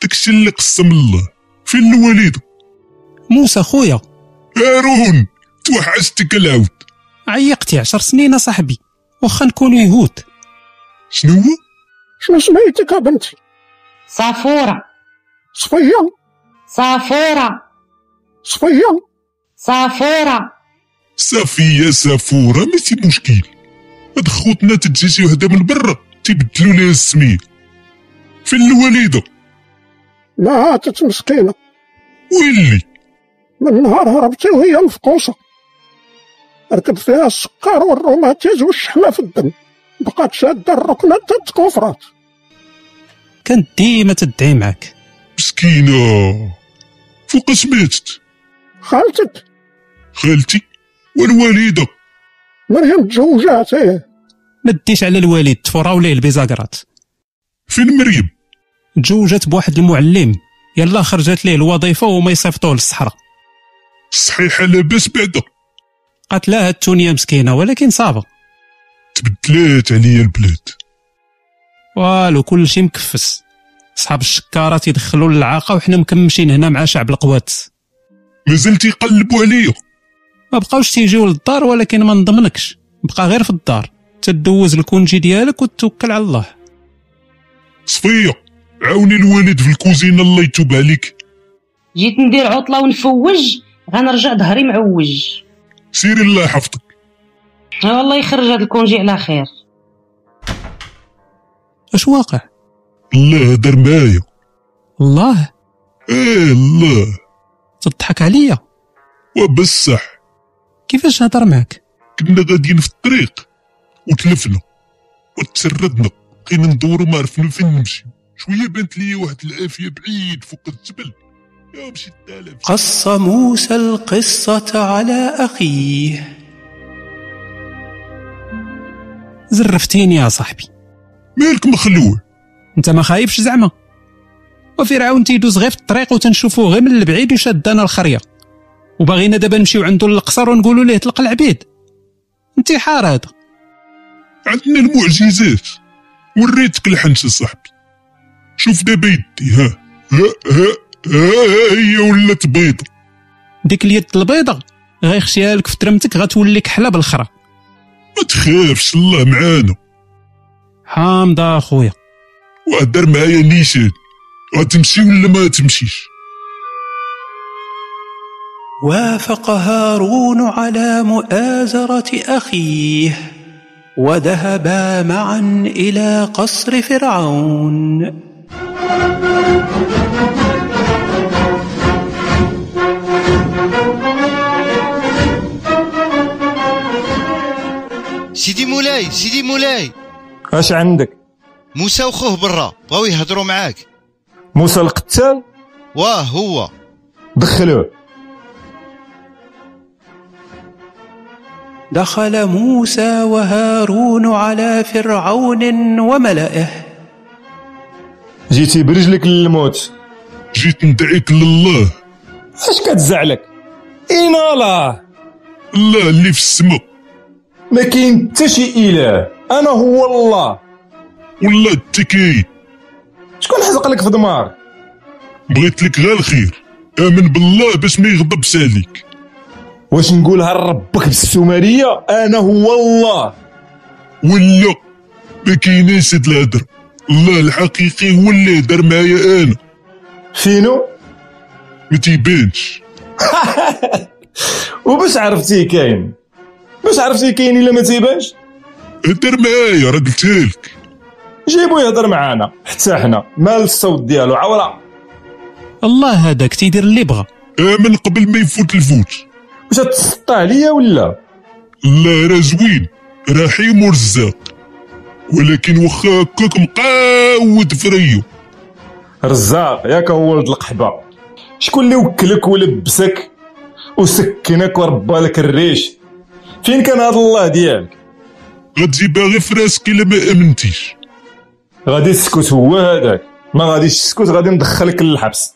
K: داكشي اللي قسم الله فين الوالد
P: موسى خويا
K: هارون توحشتك العود
P: عيقتي عشر سنين أصاحبي واخا نكونو يهود
K: شنو هو؟
H: شنو سميتك يا بنتي
N: صافورة
H: صفية
N: صافورة
H: صفية
N: صافورة
K: صافية سافورة ماشي مشكل هاد خوتنا تجي شي وحدة من برا تيبدلوا ليها السمية فين الوالدة
H: لا هاتت مسكينة
K: ويلي
H: من نهار هربتي وهي مفقوصة ركب فيها السكر والروماتيز والشحمة في الدم بقات شادة الركنة حتى تكفرات
P: كانت ديما تدعي معاك
K: مسكينة فوقاش ماتت
H: خالتك
K: خالتي والوالدة
H: مريم تزوجات ايه
P: ما ديش على الوالد تفراو ليه البيزاكرات
K: فين مريم
P: تزوجت بواحد المعلم يلا خرجت ليه الوظيفة وما يصيفطوه للصحراء
K: صحيحة لاباس بعدا
P: قتلاها التونية مسكينة ولكن صعبة
K: تبدلات عليا البلاد
P: والو كلشي مكفس صحاب الشكارة تيدخلوا للعاقة وحنا مكمشين هنا مع شعب القوات
K: مازال تيقلبوا عليا
P: ما بقاوش تيجيو للدار ولكن ما نضمنكش بقى غير في الدار تدوز الكونجي ديالك وتوكل على الله
K: صفية عاوني الوالد في الكوزينة الله يتوب عليك
N: جيت ندير عطلة ونفوج غنرجع ظهري معوج
K: سيري الله يحفظك
N: آه والله يخرج هاد الكونجي على خير
P: اش واقع
K: الله هدر معايا
P: الله
K: ايه الله
P: تضحك عليا
K: وبصح
P: كيفاش هضر معاك
K: كنا غاديين في الطريق وتلفنا وتسردنا بقينا ندورو ما عرفنا فين نمشي شويه بانت ليا واحد الافيه بعيد فوق الجبل
A: قص موسى القصة على أخيه
P: زرفتيني يا صاحبي
K: مالك مخلوع
P: انت ما خايفش زعما وفرعون تيدوز غير في الطريق وتنشوفوه غير من البعيد وشدانا الخريه وباغينا دابا نمشيو عندو للقصر ونقولوا ليه طلق العبيد انتحار هذا
K: عندنا المعجزات وريتك الحنش صاحبي شوف دابا يدي ها ها ها ها هي ولات بيضة
P: ديك اليد البيضة غيخشيها لك في ترمتك غتولي كحله بالخرا
K: ما تخافش الله معانا
P: حامضة اخويا
K: وهدر معايا نيشان غتمشي ولا ما تمشيش
A: وافق هارون على مؤازرة أخيه وذهبا معا إلى قصر فرعون
Q: سيدي مولاي سيدي مولاي
E: اش عندك
Q: موسى وخوه برا بغاو يهضروا معاك
E: موسى القتال
Q: واه هو
E: دخلوه
A: دخل موسى وهارون على فرعون وملئه
E: جيتي برجلك للموت
K: جيت ندعيك لله
E: اش كتزعلك اين الله
K: الله اللي في السماء
E: ما كاين حتى شي اله انا هو الله
K: والله التكاين
E: شكون حزق لك في دمار
K: بغيت لك غير الخير امن بالله باش ما يغضبش عليك
E: واش نقولها لربك بالسومريه انا هو الله
K: ولا ما كايناش هاد الهضره الله الحقيقي هو اللي هدر معايا انا
E: فينو
K: ما تيبانش
E: وباش عرفتي كاين باش عرفتي كاين الا ما تيبانش
K: هدر معايا راه قلتها لك
E: جيبو يهضر معانا حتى حنا مال الصوت ديالو عوره
P: الله هذاك تيدير اللي بغى
K: امن <laughs> قبل ما يفوت الفوت
E: واش تسطى عليا ولا
K: لا راه زوين رحيم ورزاق ولكن واخا هكاك مقاود فريو
E: رزاق ياك هو ولد القحبه شكون اللي وكلك ولبسك وسكنك وربى لك الريش فين كان هذا الله ديالك
K: غتجيبها غير في راسك الا ما امنتيش
E: غادي تسكت هو هذاك ما غاديش تسكت غادي ندخلك للحبس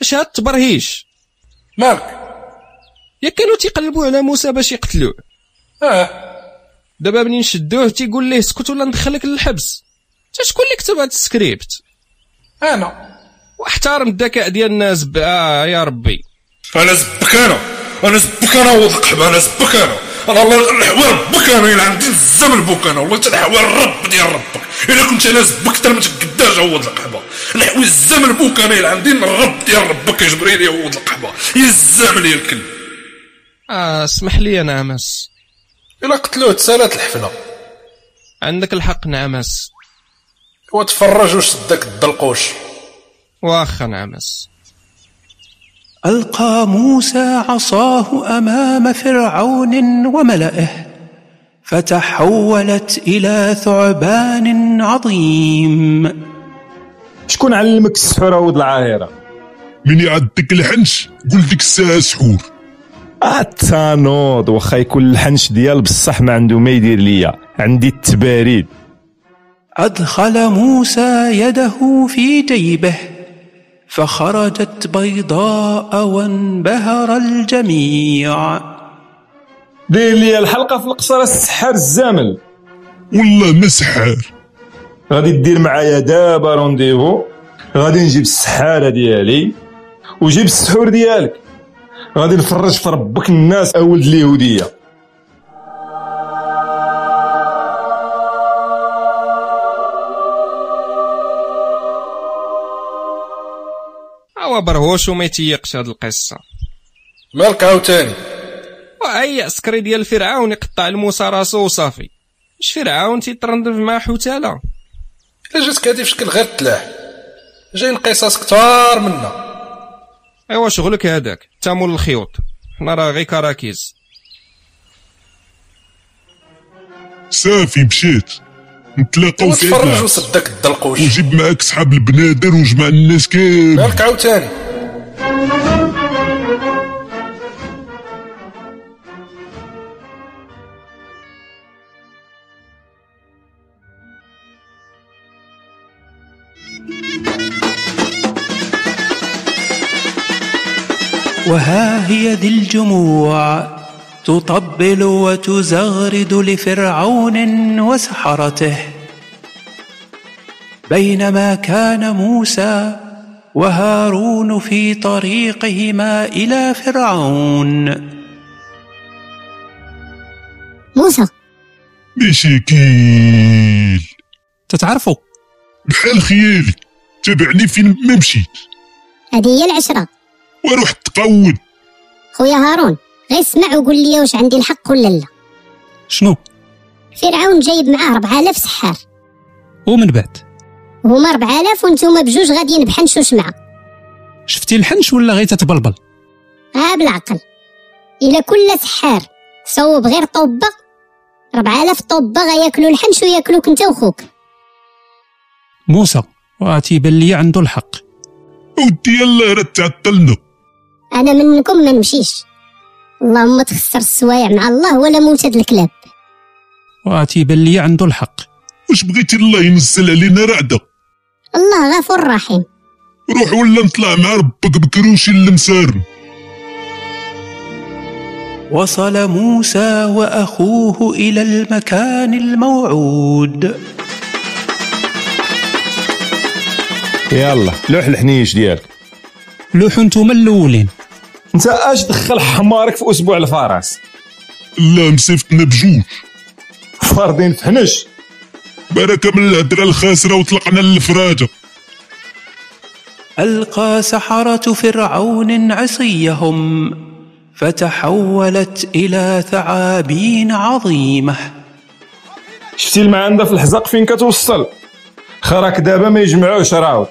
D: اش هاد التبرهيش
B: مالك
D: يا كانوا تيقلبوا على موسى باش يقتلوه
B: اه
D: دابا منين شدوه تيقول ليه اسكت ولا ندخلك للحبس تا شكون اللي كتب هاد السكريبت
B: انا
D: واحترم الذكاء ديال الناس ب... آه يا ربي
B: انا زبك انا انا زبك انا وضقحب انا زبك انا انا الله الحوار ربك انا الى عندي الزمن بوك انا والله الحوار الرب ديال ربك الا كنت انا زبك ترى ما تقداش عوض القحبه نحوي الزمن بوك انا الى عندي الرب ديال ربك يا جبريل يعوض القحبه يا الزمن يا الكل
D: آه اسمح لي يا نعمس
B: الا قتلوه تسالات الحفله
D: عندك الحق نعمس
B: وتفرج وشدك الدلقوش
D: واخا نعمس
A: ألقى موسى عصاه أمام فرعون وملئه فتحولت إلى ثعبان عظيم
E: شكون علمك السحور ود العاهره
K: من يعدك الحنش قول ديك الساعه سحور
E: التانوض واخا يكون الحنش ديال بصح ما عنده ما يدير ليا عندي التباريد
A: أدخل موسى يده في جيبه فخرجت بيضاء وانبهر الجميع
E: دير لي الحلقه في القصر السحار الزامل
K: والله ما سحار
E: غادي دير معايا دابا رونديفو غادي نجيب السحاره ديالي وجيب السحور ديالك غادي نفرج في ربك الناس اولد اليهوديه
D: هو برهوش وما يتيقش هاد القصه
B: مالك عاوتاني
D: واي عسكري ديال فرعون يقطع لموسى راسو وصافي اش فرعون تيترندف مع حوتاله
B: الا جاتك هادي في شكل غير تلاح جايين قصص كتار منا
D: ايوا شغلك هذاك تامول الخيوط حنا راه غير كراكيز
K: صافي مشيت نتلاقاو في عيد
B: وتفرج
K: العرس.
B: وصدك الدلقوش
K: وجيب معاك صحاب البنادر وجمع الناس كامل
B: مالك عاوتاني
A: وها هي ذي الجموع تطبل وتزغرد لفرعون وسحرته بينما كان موسى وهارون في طريقهما الى فرعون
I: موسى
K: مشاكيل
P: تتعرفوا
K: بحال خيالي تابعني فين ما مشيت
I: هذه هي العشرة
K: واروح تقود
I: خويا هارون غير اسمع وقول لي واش عندي الحق ولا لا
P: شنو
I: فرعون جايب معاه 4000 سحار
P: ومن بعد
I: هما 4000 وانتوما بجوج غاديين بحنشو شمعة
P: شفتي الحنش ولا غير تتبلبل
I: ها آه، بالعقل إلا كل سحار صوب غير طوبة 4000 طوبة غياكلوا الحنش وياكلوك انت وخوك
P: موسى واتي باللي عنده الحق
K: ودي يلا راه تعطلنا
I: انا منكم ما نمشيش اللهم تخسر السوايع مع الله ولا موتد الكلاب
P: واتي باللي عنده الحق
K: واش بغيتي الله ينزل علينا رعده
I: الله غفور رحيم
K: روح ولا نطلع مع ربك بكروشي المسار
A: وصل موسى واخوه الى المكان الموعود
E: يلا لوح الحنيش ديالك
P: لوحوا نتوما الاولين
E: انت اش دخل حمارك في اسبوع الفرس
K: لا مسيفتنا بجوج
E: فاردين فحنش
K: بركه من الهدره الخاسره وطلقنا للفراجه
A: القى سحره فرعون عصيهم فتحولت الى ثعابين عظيمه
E: شفتي المعانده في الحزق فين كتوصل خراك دابا ما يجمعوش راهو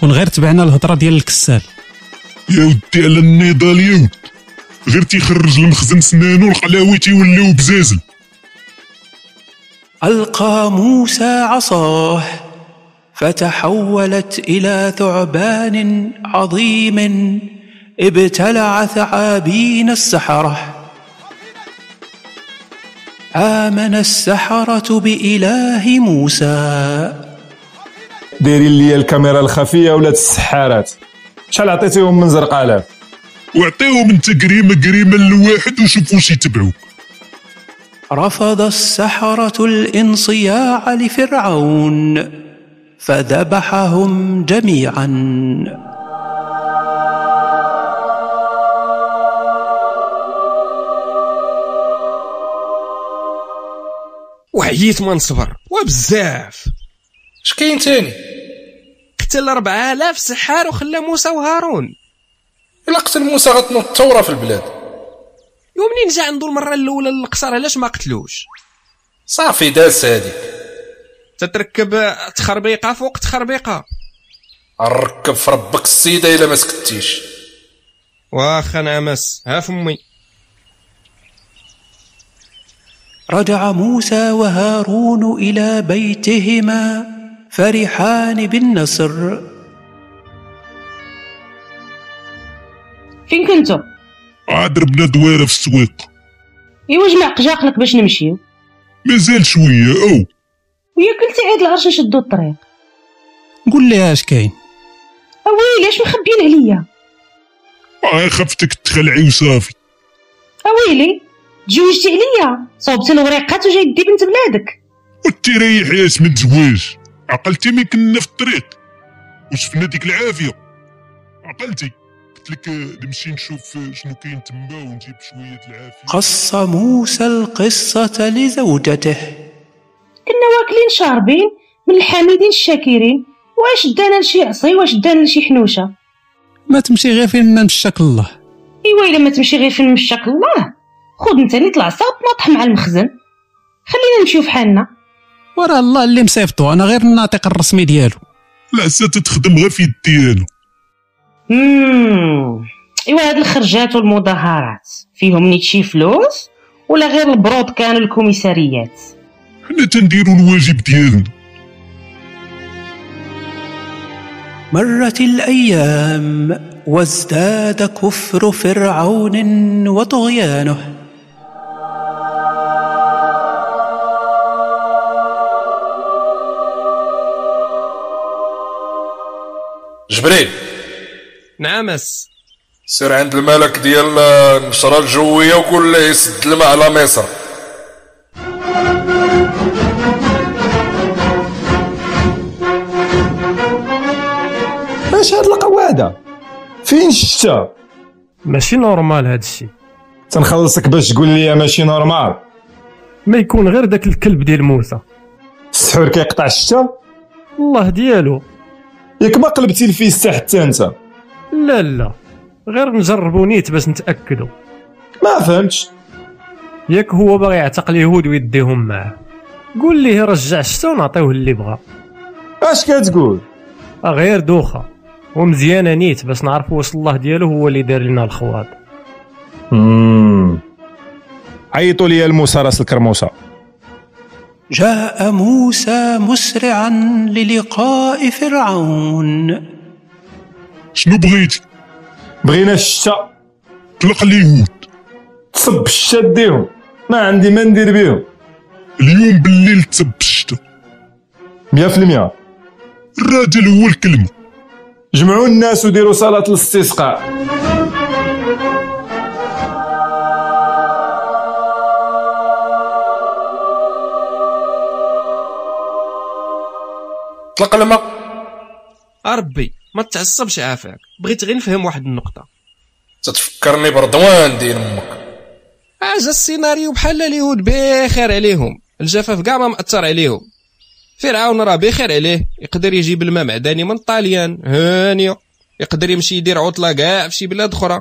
P: كون غير تبعنا الهضره ديال الكسال
K: يا ودي على النضال يا ود غير تيخرج المخزن سنانو القلاوي تيوليو بزازل
A: القى موسى عصاه فتحولت الى ثعبان عظيم ابتلع ثعابين السحره امن السحره باله موسى
E: دايرين ليا الكاميرا الخفيه ولاد السحارات شحال عطيتيهم من زرقاله
K: وعطيهم انت قريمه قريمه لواحد وشوف واش يتبعوك
A: رفض السحرة الانصياع لفرعون فذبحهم جميعا
D: وعييت ما نصبر وبزاف اش كاين تاني قتل 4000 سحار وخلى موسى وهارون الا قتل موسى غتنوض الثوره في البلاد ومنين جا عنده المره الاولى للقصر علاش ما قتلوش
B: صافي داس هادي
D: تتركب تخربيقه فوق تخربيقه
B: ركب في ربك السيده الا ما سكتيش
D: واخا نعمس ها فمي
A: رجع موسى وهارون إلى بيتهما فرحان بالنصر
N: فين كنتو
K: عاد ربنا دويره في السويق
N: ايوا جمع قجاقلك باش نمشيو
K: مازال شويه او
N: ويا كلتي عيد العرش نشدو الطريق
P: قول لي اش كاين
N: اويلي اش مخبيين عليا
K: آه خفتك تخلعي وصافي
N: اويلي تزوجتي عليا صوبتي الوريقات وجاي دي بنت بلادك
K: وانت ريح ياس من زواج عقلتي مين كنا في الطريق وشفنا ديك العافيه عقلتي قلت لك آه، نمشي نشوف آه، شنو كاين تما ونجيب شويه العافيه
A: قص موسى القصة لزوجته
N: كنا واكلين شاربين من الحامدين الشاكرين واش دانا لشي عصي واش دانا لشي حنوشه
P: ما تمشي غير فين ما مشاك الله
N: ايوا الا ما تمشي غير فين مشاك الله خذ انت نيت العصا وتنطح مع المخزن خلينا نمشيو فحالنا
P: وراه الله اللي مصيفطو انا غير الناطق الرسمي ديالو
K: العسى تتخدم غير في يدي انا
N: مم. ايوا هاد الخرجات والمظاهرات فيهم نيتشي فلوس ولا غير البرود كانوا الكوميساريات
K: حنا تنديروا الواجب ديالنا
A: مرت الايام وازداد كفر فرعون وطغيانه
B: جبريل
D: نعم اس
B: سير عند الملك ديال النشرة الجوية وقول له يسد الماء على مصر
E: اش هاد القواده فين الشتا
F: ماشي نورمال هاد الشيء
E: تنخلصك باش تقول لي ماشي نورمال
F: ما يكون غير داك الكلب ديال موسى
E: السحور كيقطع الشتا
F: الله ديالو
E: ياك ما قلبتي الفيستا حتى انت
F: لا لا غير نجربو نيت باش نتاكدوا
E: ما فهمتش
F: ياك هو باغي يعتق اليهود ويديهم معاه قول ليه رجع الشتا ونعطيوه اللي بغا
E: اش كتقول
F: غير دوخه ومزيانه نيت باش نعرفوا واش الله ديالو هو اللي دار لنا الخواط
E: مم. عيطوا لي الموسى راس الكرموسه
A: جاء موسى مسرعا للقاء فرعون
K: شنو بغيتي
E: بغينا الشتا
K: طلق اليهود
E: تصب الشتا ديهم ما عندي ما ندير بيهم اليوم بالليل تصب الشتا 100%
K: الراجل هو الكلمة
E: جمعوا الناس وديروا صلاة الاستسقاء
B: طلق الماء
D: اربي ما تعصبش عافاك بغيت غير نفهم واحد النقطه
B: تتفكرني برضوان ديال امك
D: اجا السيناريو بحال اليهود بخير عليهم الجفاف كاع ما مأثر عليهم فرعون راه بخير عليه يقدر يجيب الماء معدني من طاليان هانيه يقدر يمشي يدير عطله كاع في شي بلاد اخرى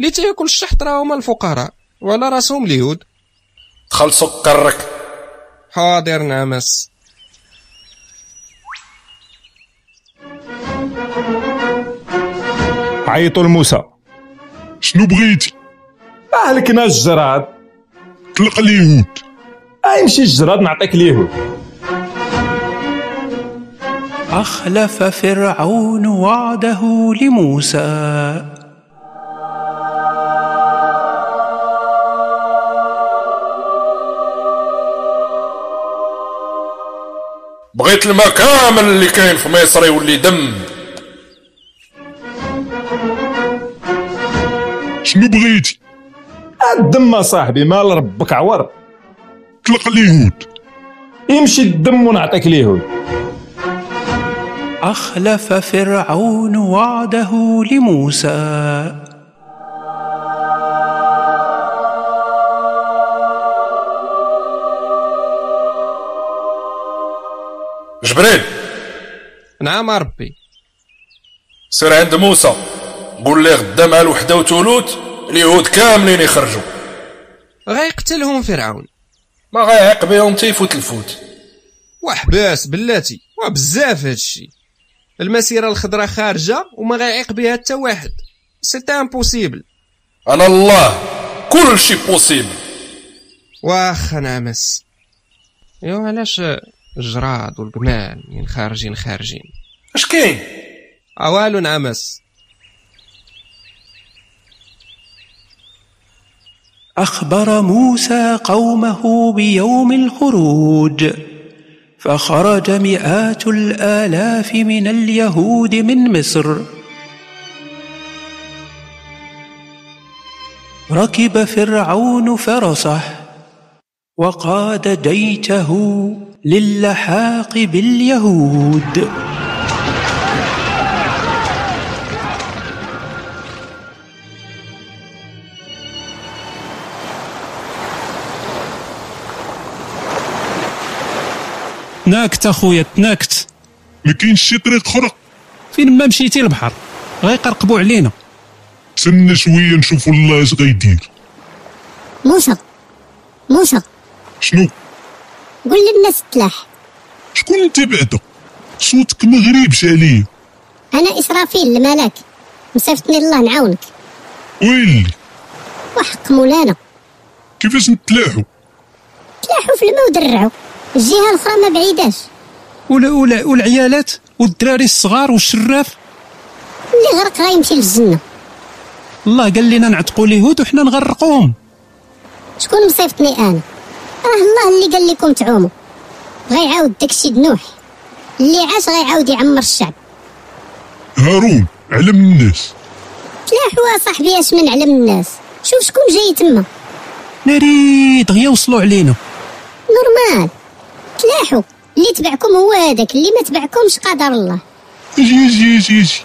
D: اللي تياكل الشحط راه هما الفقراء وعلى راسهم اليهود
B: دخل سكرك
D: حاضر نعم، نعمس
E: عيطوا لموسى
K: شنو بغيتي
E: اهلكنا الجراد
K: طلق اليهود
E: امشي الجراد نعطيك اليهود
A: أخلف فرعون وعده لموسى
B: بغيت الماء كامل اللي كاين في مصر يولي دم
K: شنو بغيتي
E: الدم صاحبي مال ربك عور
K: طلق اليهود
E: يمشي الدم ونعطيك اليهود
A: أخلف فرعون وعده لموسى
B: جبريل
D: نعم ربي
B: سير عند موسى قول ليه غدا مع الوحدة وتولوت اليهود كاملين يخرجوا
D: غيقتلهم فرعون
B: ما غيعيق بهم تيفوت الفوت
D: وحباس بلاتي وبزاف هادشي المسيره الخضراء خارجه وما غيعيق بها حتى واحد سي امبوسيبل
B: انا الله كل شيء بوسيبل
D: واخا نعمس يو علاش الجراد والجمال من خارجين خارجين
B: اش كاين
D: اوالو نعمس
A: أخبر موسى قومه بيوم الخروج فخرج مئات الآلاف من اليهود من مصر ركب فرعون فرسه وقاد جيشه للحاق باليهود
P: تناكت اخويا تناكت
K: ما كاينش شي طريق اخرى
P: فين ما مشيتي البحر غيقرقبوا علينا
K: تسنى شويه نشوفوا الله اش غيدير
I: موسى موسى
K: شنو
I: قول للناس تلاح
K: شكون انت بعدا صوتك ما غريبش عليا
I: انا اسرافيل الملاك مسافتني الله نعاونك
K: ويلي
I: وحق مولانا
K: كيفاش نتلاحوا
I: تلاحوا في الماء ودرعوا الجهه الاخرى ما بعيداش
P: ولا ولا والعيالات والدراري الصغار والشراف
I: اللي غرق غيمشي للجنه
P: الله قال لنا نعتقوا اليهود وحنا نغرقوهم
I: شكون مصيفطني انا راه الله اللي قال لكم تعوموا بغا يعاود داكشي د نوح اللي عاش غيعاود يعمر الشعب
K: هارون علم الناس
I: تلاحوا صاحبي اش من علم الناس شوف شكون جاي تما
P: ناري دغيا يوصلوا علينا
I: نورمال تلاحوا اللي تبعكم هو هذاك اللي ما تبعكمش قدر الله
K: اجي اجي اجي اجي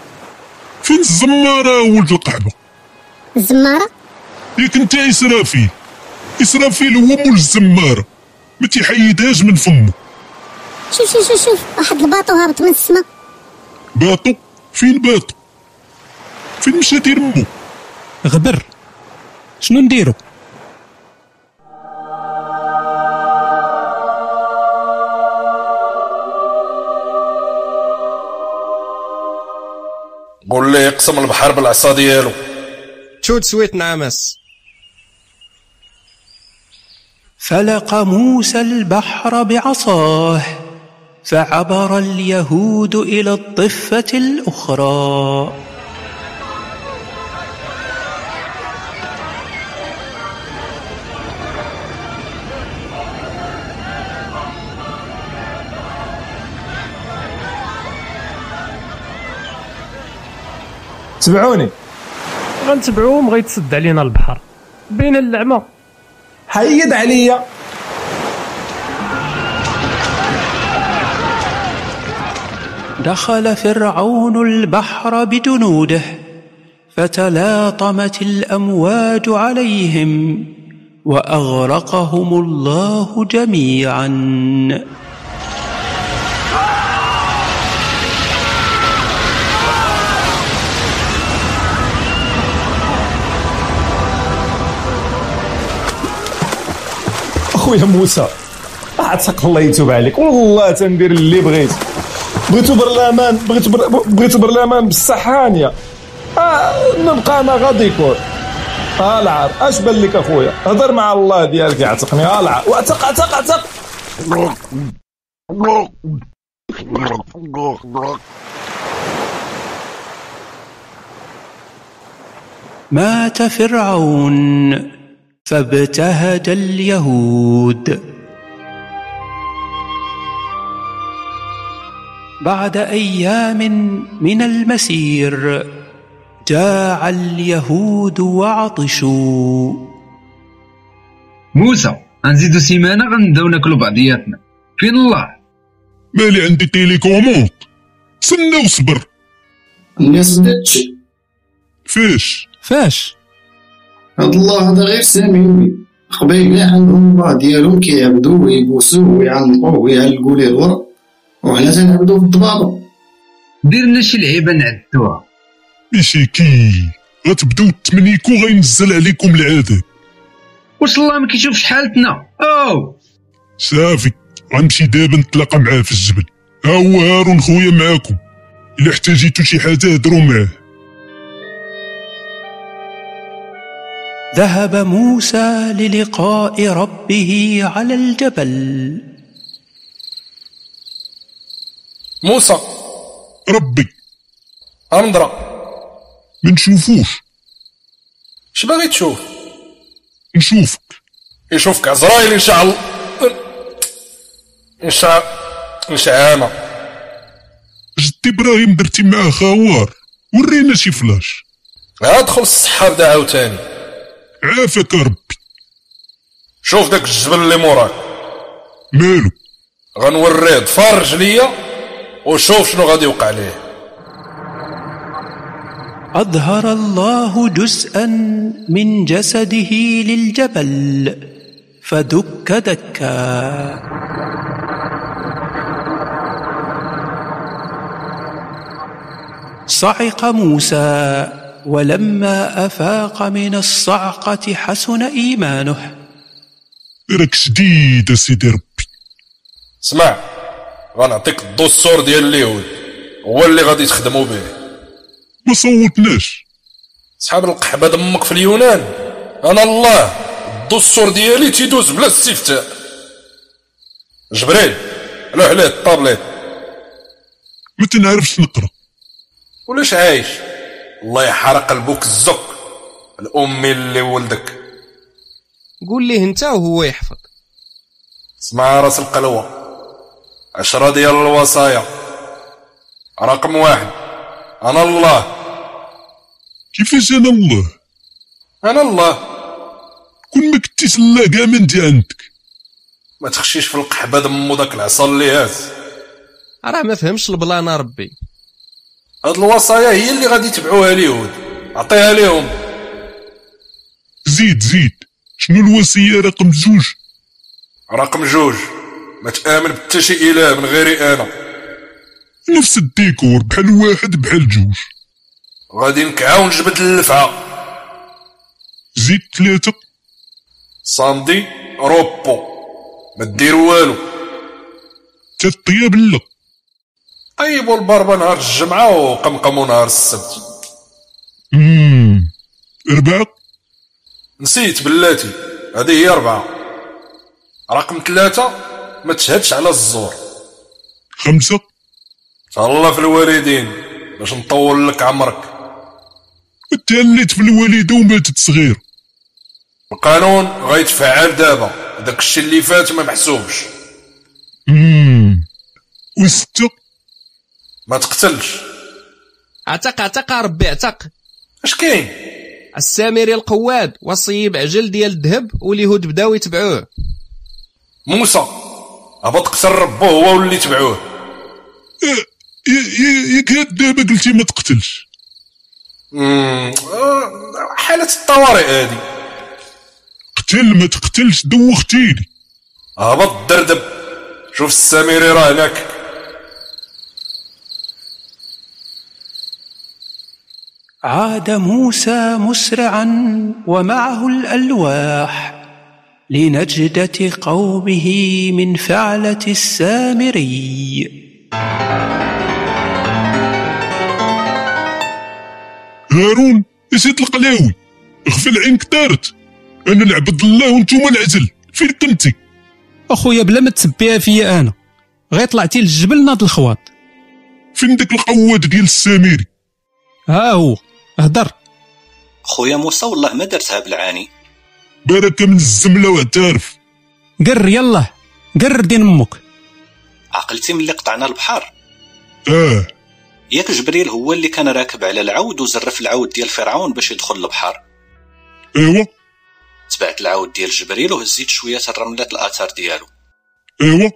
K: فين الزمارة ولد القحبة
I: الزمارة
K: ياك انت اسرافيل اسرافيل هو مول الزمارة ما تيحيدهاش من فمه
I: شوف شوف شوف شوف واحد الباطو هابط من السما
K: باطو فين باطو فين مشى دير مو
P: غبر شنو نديرو
B: قول لي يقسم البحر بالعصا ديالو
D: تشود سويت نعمس
A: فلق موسى البحر بعصاه فعبر اليهود إلى الضفة الأخرى
E: تبعوني
F: غنتبعوهم غيتسد علينا البحر بين اللعمه
E: حيد عليا
A: دخل فرعون البحر بجنوده فتلاطمت الأمواج عليهم وأغرقهم الله جميعاً
E: اخويا موسى عتق الله يتوب عليك والله تندير اللي بغيت بغيتو برلمان بغيتو بر... بغيتو برلمان بصح هانيه آه نبقى انا غادي يكون آه العار اش بان لك اخويا هضر مع الله ديالك يعتقني آه العار واعتق اعتق اعتق
A: مات فرعون فابتهج اليهود بعد ايام من المسير جاع اليهود وعطشوا
R: موسى غنزيدو سيمانه غنبداو ناكلو بعضياتنا فين الله
K: مالي عندي تيليكوموند تسنى وصبر
S: ما صدقتش
K: فاش
P: فاش
S: هاد الله هذا غير سامي قبيلة عندهم الله ديالهم كيعبدو ويبوسو ويعنقو ويعلقو ليه الغرب وحنا تنعبدو في الضبابة
R: ديرنا شي لعيبه نعدوها
K: ميشيكي غتبداو تمنيكو غينزل عليكم العذاب
R: واش الله ما كيشوفش حالتنا او
K: صافي غنمشي دابا نتلاقى معاه في الجبل ها هو هارون خويا معاكم الا احتاجيتو شي حاجه هضروا معاه
A: ذهب موسى للقاء ربه على الجبل
B: موسى
K: ربي
B: امضرة
K: ما نشوفوش
B: اش باغي تشوف
K: نشوفك
B: يشوفك عزرايل ان شاء الله ان شاء ان شاء الله
K: جدي ابراهيم درتي معاه خوار ورينا شي فلاش
B: ادخل السحاب ده عاوتاني
K: عافاك ربي
B: شوف داك الجبل اللي موراك
K: مالو
B: غنوريه ضفار رجليا وشوف شنو غادي يوقع ليه
A: أظهر الله جزءا من جسده للجبل فدك دكا صعق موسى ولما أفاق من الصعقة حسن إيمانه
K: راك شديد اسيدي ربي
B: اسمع غنعطيك الدستور ديال اليهود هو اللي غادي تخدموا به
K: ما صوتناش
B: صحاب القحبه دمك في اليونان انا الله الدستور ديالي تيدوز بلا استفتاء جبريل لوح عليه الطابليت
K: ما تنعرفش نقرا
B: ولاش عايش الله يحرق قلبك الزق الامي اللي ولدك
D: قول ليه انت وهو يحفظ
B: اسمع راس القلوه عشرة ديال الوصايا رقم واحد انا الله
K: كيفاش انا الله
B: انا الله
K: كون ما كنتيش الله كاع ما ندي عندك
B: ما تخشيش في القحبه دمو داك العصا اللي هاز
D: راه ما فهمش البلان ربي
B: هاد الوصايا هي اللي غادي يتبعوها اليهود عطيها ليهم
K: زيد زيد شنو الوصيه رقم زوج
B: رقم جوج ما تآمن بتا شي اله من غيري انا
K: نفس الديكور بحال واحد بحال جوج
B: غادي نكعى ونجبد اللفعه
K: زيد ثلاثة
B: صامدي روبو ما دير والو
K: كالطياب لا
B: طيبوا البربه طيب نهار الجمعه وقمقموا نهار السبت
K: مم. أربعة
B: نسيت بلاتي هذه هي أربعة رقم ثلاثة ما تشهدش على الزور
K: خمسة
B: تهلا في الوالدين باش نطول لك عمرك
K: تهنيت في الوالدة وماتت صغير
B: القانون غيتفعل دابا داك الشي اللي فات ما محسوبش
K: مم. وستة
B: ما تقتلش
D: عتق عتق ربي عتق
B: اش كاين
D: السامري القواد وصي بعجل ديال الذهب واليهود بداو يتبعوه
B: موسى هبط قتل ربه هو واللي تبعوه
K: يا- يا- يا- ياك هاد دابا قلتي ما تقتلش
B: مم، آه، حالة الطوارئ هادي
K: قتل ما تقتلش دوختيني
B: هبط الدردب شوف السامري راه هناك
A: عاد موسى مسرعا ومعه الالواح لنجده قومه من فعله السامري
K: هارون نسيت القلاوي غفل عينك دارت انا العبد الله وانتوما العزل فين كنتي
P: اخويا بلا ما تسبيها فيا انا غير طلعتي للجبل ناض الخواط
K: فين داك القواد ديال السامري
P: ها هو هضر
T: خويا موسى والله ما درتها بالعاني
K: بركه من الزمله واعترف
P: قر يلا قر دين امك
T: عقلتي ملي قطعنا البحر
K: اه
T: ياك جبريل هو اللي كان راكب على العود وزرف العود ديال فرعون باش يدخل البحر
K: ايوا
T: تبعت العود ديال جبريل وهزيت شويه الرملات الاثار ديالو
K: ايوا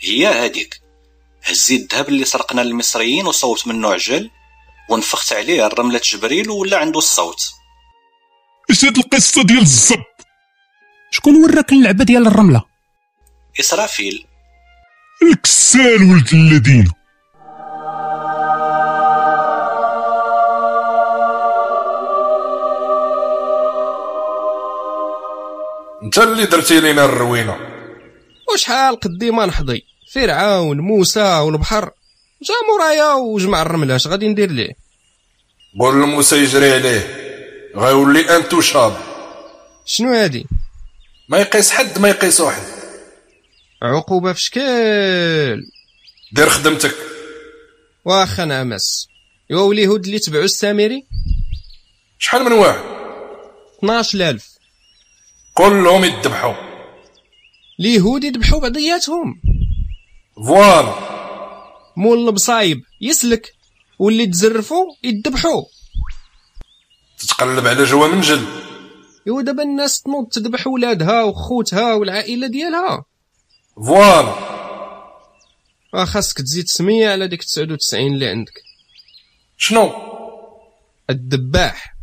T: هي هاديك هزيت الذهب اللي سرقنا للمصريين وصوت منه عجل ونفخت عليه الرملة جبريل ولا عنده الصوت
K: اش هاد القصه ديال الزب
P: شكون وراك اللعبه ديال الرمله
T: إسرافيل
K: الكسال ولد الذين
B: انت اللي درتي لينا الروينه
D: وشحال قديما نحضي فرعون موسى والبحر جا مورايا وجمع الرمله اش غادي ندير ليه
B: قول لموسى يجري عليه غيولي انتو شاب
D: شنو هادي
B: ما يقيس حد ما يقيس واحد
D: عقوبه في شكل
B: دير خدمتك
D: واخا نعمس يوا واليهود اللي تبعوا السامري
B: شحال من واحد
D: 12000
B: كلهم يذبحوا
D: اليهود يذبحوا بعضياتهم
B: فوالا
D: مول المصايب يسلك واللي تزرفوا يذبحوا
B: تتقلب على جوا منجل
D: ايوا دابا الناس تنوض تذبح ولادها وخوتها والعائله ديالها
B: فوالا
D: راه خاصك تزيد سميه على ديك 99 اللي عندك
B: شنو
D: الذباح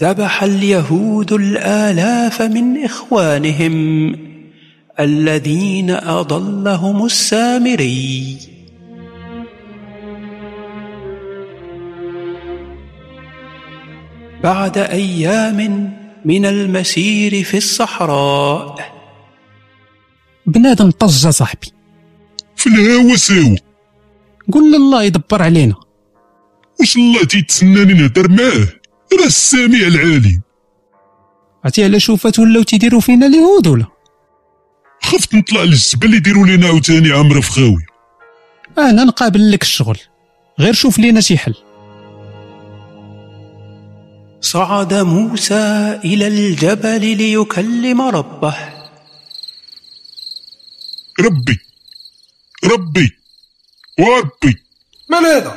A: ذبح اليهود الالاف من اخوانهم الذين اضلهم السامري بعد ايام من المسير في الصحراء
P: بنادم طج يا صاحبي
K: في الهوا ساوا
P: قول لله يدبر علينا
K: واش الله تيتسناني نهضر معاه راه السميع العليم
P: عرفتي على شوفات ولاو تيديروا فينا اليهود ولا
K: خفت نطلع للزبل يديروا لينا عاوتاني عمرو فخاوي
P: انا نقابل لك الشغل غير شوف لينا شي حل
A: صعد موسى إلى الجبل ليكلم ربه
K: ربي ربي وربي
D: مال هذا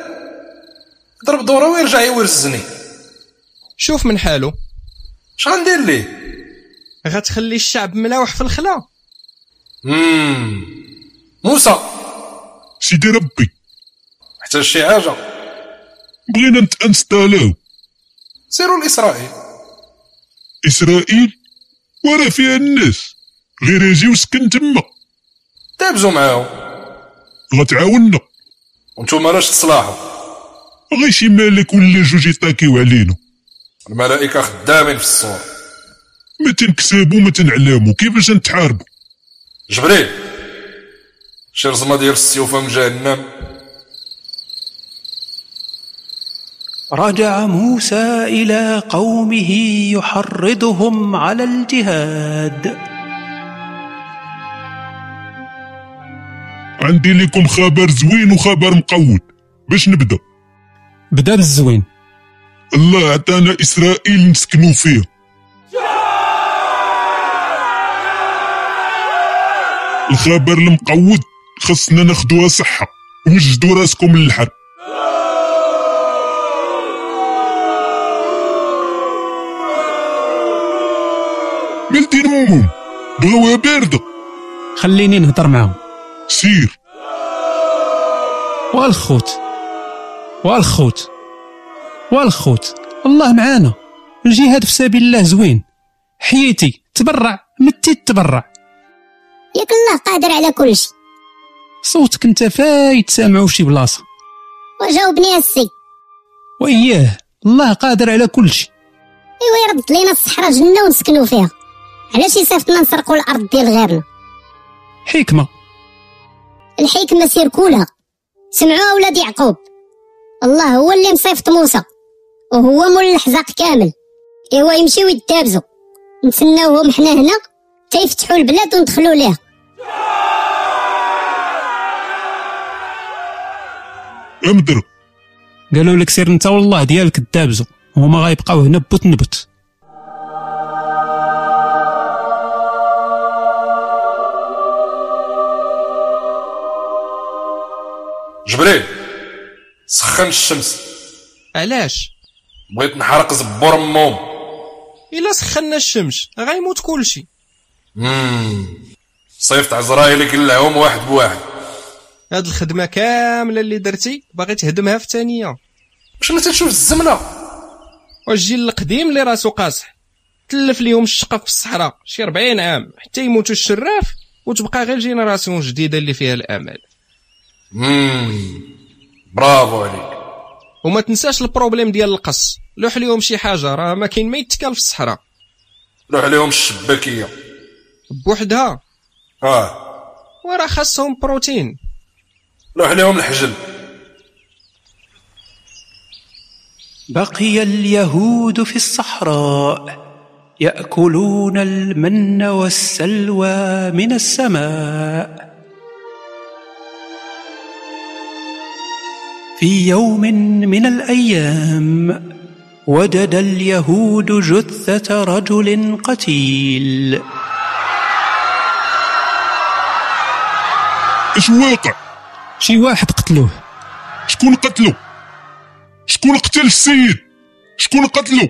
D: ضرب دوره ويرجع يورزني شوف من حاله شغندير ليه غتخلي الشعب ملاوح في الخلا
B: موسى
K: سيدي ربي
B: حتى شي حاجه
K: بغينا نتانستالاو
B: سيروا لاسرائيل
K: اسرائيل ورا فيها الناس غير اجي وسكن تما
B: تابزوا معاهم
K: غتعاوننا
B: وانتم راش تصلاحوا
K: غير شي مالك ولا جوج يطاكيو علينا
B: الملائكه خدامين في الصور
K: ما تنكسبو ما تنعلامو كيفاش نتحاربو
B: جبريل شي رزمه ديال السيوفه من جهنم
A: رجع موسى إلى قومه يحرضهم على الجهاد
K: عندي لكم خبر زوين وخبر مقود باش نبدا
P: بدا بالزوين
K: الله عطانا اسرائيل نسكنوا فيها الخبر المقود خصنا ناخدوها صحة وجدوا راسكم للحرب مالتي نمهم بغاوها باردة
P: خليني نهضر معاهم
K: سير
P: والخوت والخوت والخوت الله معانا الجهاد في سبيل الله زوين حياتي تبرع متي تبرع
I: ياك الله قادر على كل شيء
P: صوتك انت فايت سامعو شي بلاصه
I: وجاوبني السي
P: واياه الله قادر على كل شيء
I: ايوا يرد لينا الصحراء جنه ونسكنوا فيها علاش يصيفطنا نسرقوا الارض ديال غيرنا
P: حكمه
I: الحكمه سيركولها سمعوها ولاد يعقوب الله هو اللي مصيفط موسى وهو مول الحزاق كامل ايوا يمشيو يتابزو نتسناوهم حنا هنا تا يفتحوا البلاد وندخلوا ليها
K: امدر
P: قالوا لك سير انت والله ديالك الدابزو وهما غيبقاو هنا بوت نبت
B: جبريل سخن الشمس
D: علاش
B: بغيت نحرق زبور موم
D: الا سخنا الشمس غيموت كلشي
B: صيفط عزرايل كلعهم واحد بواحد
D: هاد الخدمه كامله اللي درتي باغي تهدمها في ثانيه
B: شنو تشوف الزمنه
D: والجيل القديم اللي راسو قاصح تلف ليهم الشقه في الصحراء شي 40 عام حتى يموتوا الشراف وتبقى غير جينيراسيون جديده اللي فيها الامل
B: مم. برافو عليك
D: وما تنساش البروبليم ديال القص لوح ليهم شي حاجه راه ما كاين ما يتكال في الصحراء
B: لوح عليهم الشباكيه
D: بوحدها
B: اه
D: وراه خاصهم بروتين
B: لوح عليهم الحجل
A: بقي اليهود في الصحراء يأكلون المن والسلوى من السماء في يوم من الأيام وجد اليهود جثة رجل قتيل
K: اش واقع
P: شي واحد قتلوه
K: شكون قتلو شكون قتل السيد شكون قتلو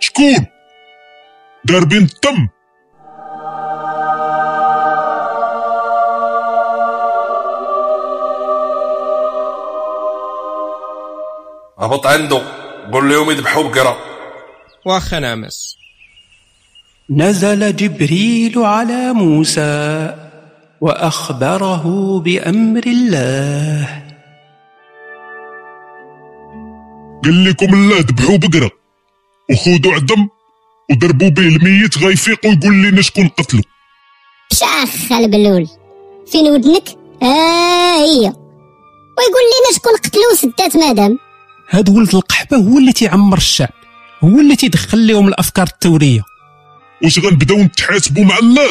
K: شكون داربين الدم
B: هبط عنده قول لهم يذبحوا بقره
D: واخا نعمس
A: نزل جبريل على موسى وأخبره بأمر الله
K: قال لكم الله ذبحوا بقرة وخذوا عظم وضربوا به الميت غيفيق ويقول لنا شكون قتلو
I: شاخ البلول فين ودنك ها هي ويقول لنا شكون قتلو سدات مادام
P: هاد ولد القحبه هو اللي تيعمر الشعب هو اللي تيدخل لهم الافكار الثوريه
K: واش غنبداو نتحاسبوا مع الله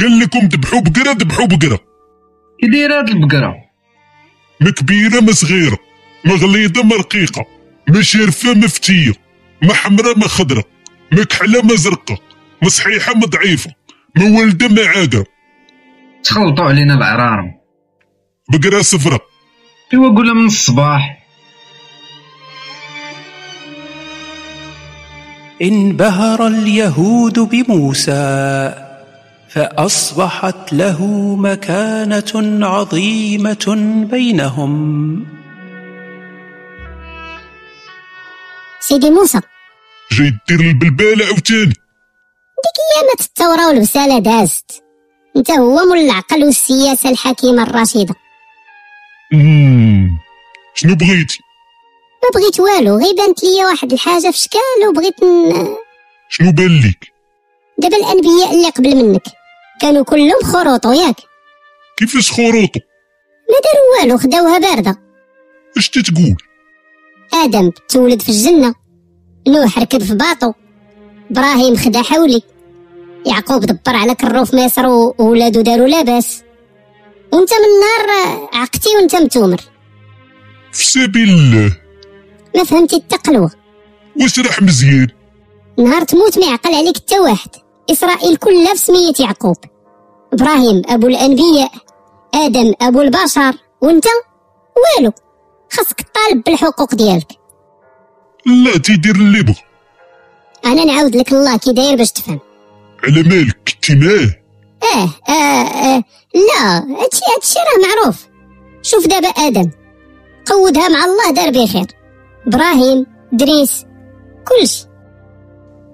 K: قال لكم ذبحوا بقره ذبحوا بقره كي دايره هاد البقره ما كبيره ما صغيره ما غليظه ما رقيقه ما شارفه ما فتيه ما حمراء ما خضراء ما كحله ما زرقاء ما صحيحه ما ضعيفه ما والده ما عاقره تخلطوا علينا العرارم بقره صفرة
R: ايوا قولها من الصباح
A: انبهر اليهود بموسى فاصبحت له مكانه عظيمه بينهم
I: سيدي موسى
K: جاي دير البلباله عاوتاني
I: ديك ايامات الثوره والبساله دازت انت هو مول العقل والسياسه الحكيمه الرشيده
K: مم. شنو بغيتي
I: ما بغيت والو غير بانت ليا واحد الحاجه في شكال وبغيت ن...
K: شنو بان لك
I: دابا الانبياء اللي قبل منك كانوا كلهم خروطو ياك
K: كيفاش خروطه
I: ما داروا والو خداوها بارده
K: اش تتقول
I: ادم تولد في الجنه نوح ركب في باطو ابراهيم خدا حولي يعقوب دبر على كرو في مصر و- وولادو داروا لاباس وانت من النهار آه، عقتي وانت متومر
K: في سبيل الله
I: ما فهمتي التقلوه
K: واش راح مزيان
I: نهار تموت ما يعقل عليك حتى واحد اسرائيل كلها في سميه يعقوب ابراهيم ابو الانبياء ادم ابو البشر وانت والو خاصك تطالب بالحقوق ديالك
K: لا تيدير اللي بغى
I: انا نعاود لك الله كي داير باش تفهم
K: على مالك كنتي معاه
I: اه, آه, آه لا هادشي هادشي راه معروف شوف دابا ادم قودها مع الله دار بخير ابراهيم دريس كلشي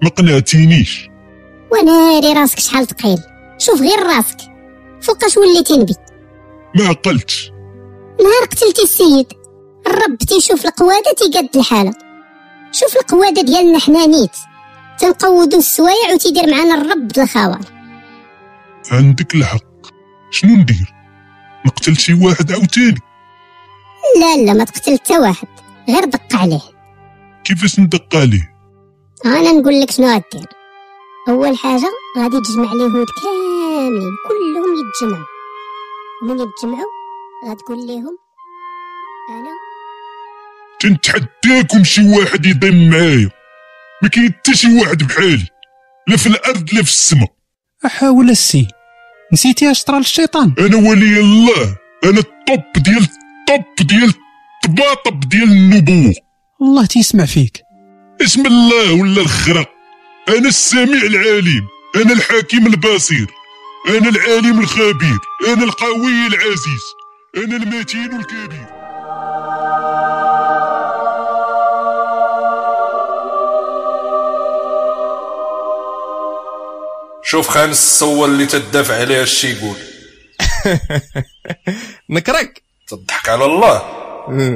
K: ما قنعتينيش
I: وناري راسك شحال ثقيل شوف غير راسك فوقاش وليتي نبي
K: ما عقلتش
I: نهار قتلتي السيد الرب تيشوف القواده تيقاد الحاله شوف القواده ديالنا حنا نيت تنقودو السوايع وتيدير معانا الرب الخوار
K: عندك الحق شنو ندير نقتل شي واحد عاوتاني
I: لا لا ما تقتل حتى واحد غير دق عليه
K: كيفاش ندق عليه
I: انا نقول لك شنو غدير اول حاجه غادي تجمع اليهود كاملين كلهم يتجمعوا ومن يتجمعوا غتقول لهم انا
K: تنتحداكم شي واحد يضم معايا ما كاين حتى شي واحد بحالي لا في الارض لا في السماء
P: احاول السي نسيتي اش طرا للشيطان
K: انا ولي الله انا الطب ديال الطب ديال الطباطب ديال النبوه
P: الله تيسمع فيك
K: اسم الله ولا الخرا انا السميع العليم انا الحكيم البصير انا العالم الخبير انا القوي العزيز انا المتين الكبير
B: شوف خان الصور اللي تدافع عليه هادشي يقول
D: نكرك
B: تضحك على الله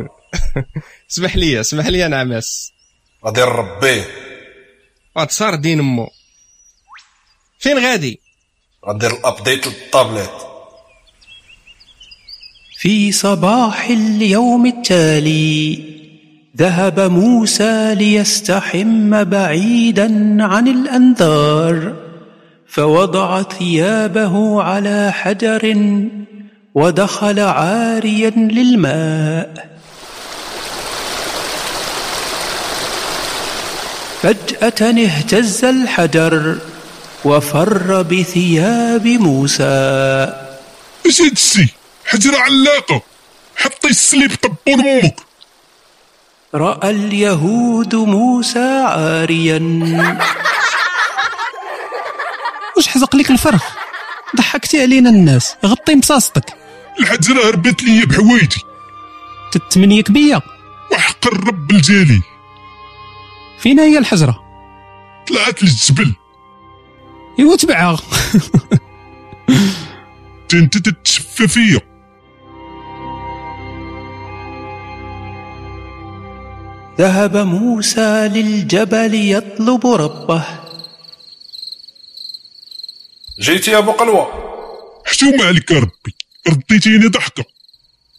D: <laughs> اسمح لي اسمح لي انا عماس
B: غادي نربيه
D: وتصار دين مو فين غادي
B: غندير الابديت للطابلات
A: في صباح اليوم التالي ذهب موسى ليستحم بعيدا عن الانذار فوضع ثيابه على حجر ودخل عاريا للماء فجاه اهتز الحجر وفر بثياب موسى
K: اش هادشي حجره علاقه حطي السليب طبون امك
A: راى اليهود موسى
P: <laughs>
A: عاريا
P: واش حزق لك الفرخ ضحكتي علينا الناس غطي مصاصتك
K: الحجره هربت لي بحوايجي
P: تتمنيك بيا
K: وحق الرب الجليل
P: فينا هي الحجره
K: طلعت للجبل
P: ايوا تبعها
K: انت تتشفى فيا
A: ذهب موسى للجبل يطلب ربه
B: جيتي يا ابو قلوه
K: حشومه عليك يا ربي رديتيني ضحكه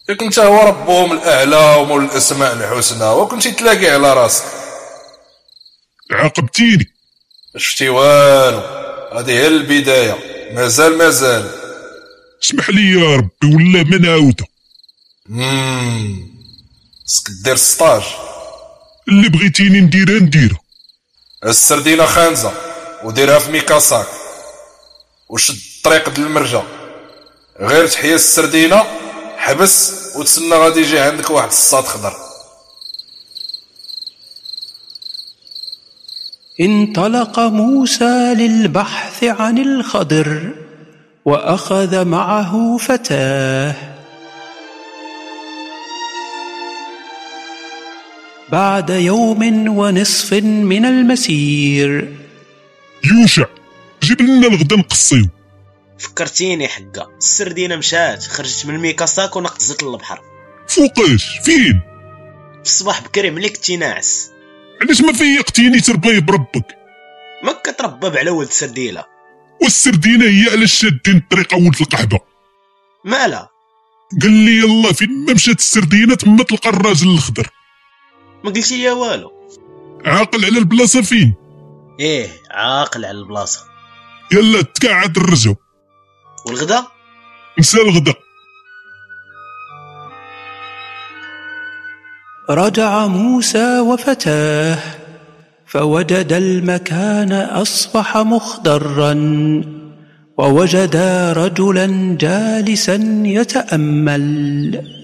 B: ياك انت هو ربهم الاعلى ومول الاسماء الحسنى وكنتي تلاقي على راسك
K: عاقبتيني
B: شتي والو هذه هي البدايه مازال مازال
K: اسمح لي يا ربي ولا ما نعاودها
B: امم خصك دير سطاج
K: اللي بغيتيني نديرها نديرها
B: السردينه خانزه وديرها في ميكاساك وشد الطريق د المرجه غير تحيا السردينه حبس وتسنى غادي يجي عندك واحد الصاد خضر
A: انطلق موسى للبحث عن الخضر واخذ معه فتاه بعد يوم ونصف من المسير
K: يوشع جيب لنا الغدا نقصيو
U: فكرتيني حقا السردينه مشات خرجت من الميكاساك ونقزت للبحر
K: فوقاش فين
U: في الصباح بكري ملي كنتي ناعس
K: علاش ما فيقتيني تربيه بربك
U: ما كتربب على ولد سرديله
K: والسردينه هي علاش شادين الطريق ولد القحبه
U: مالا
K: قال لي يلا فين ما مشات السردينه تما تلقى الراجل الخضر
U: ما قلتي ليا والو
K: عاقل على البلاصه فين
U: ايه عاقل على البلاصه
K: يلا تكعد الرجا
U: والغدا
K: نسى الغدا
A: رجع موسى وفتاه فوجد المكان اصبح مخضرا ووجدا رجلا جالسا يتامل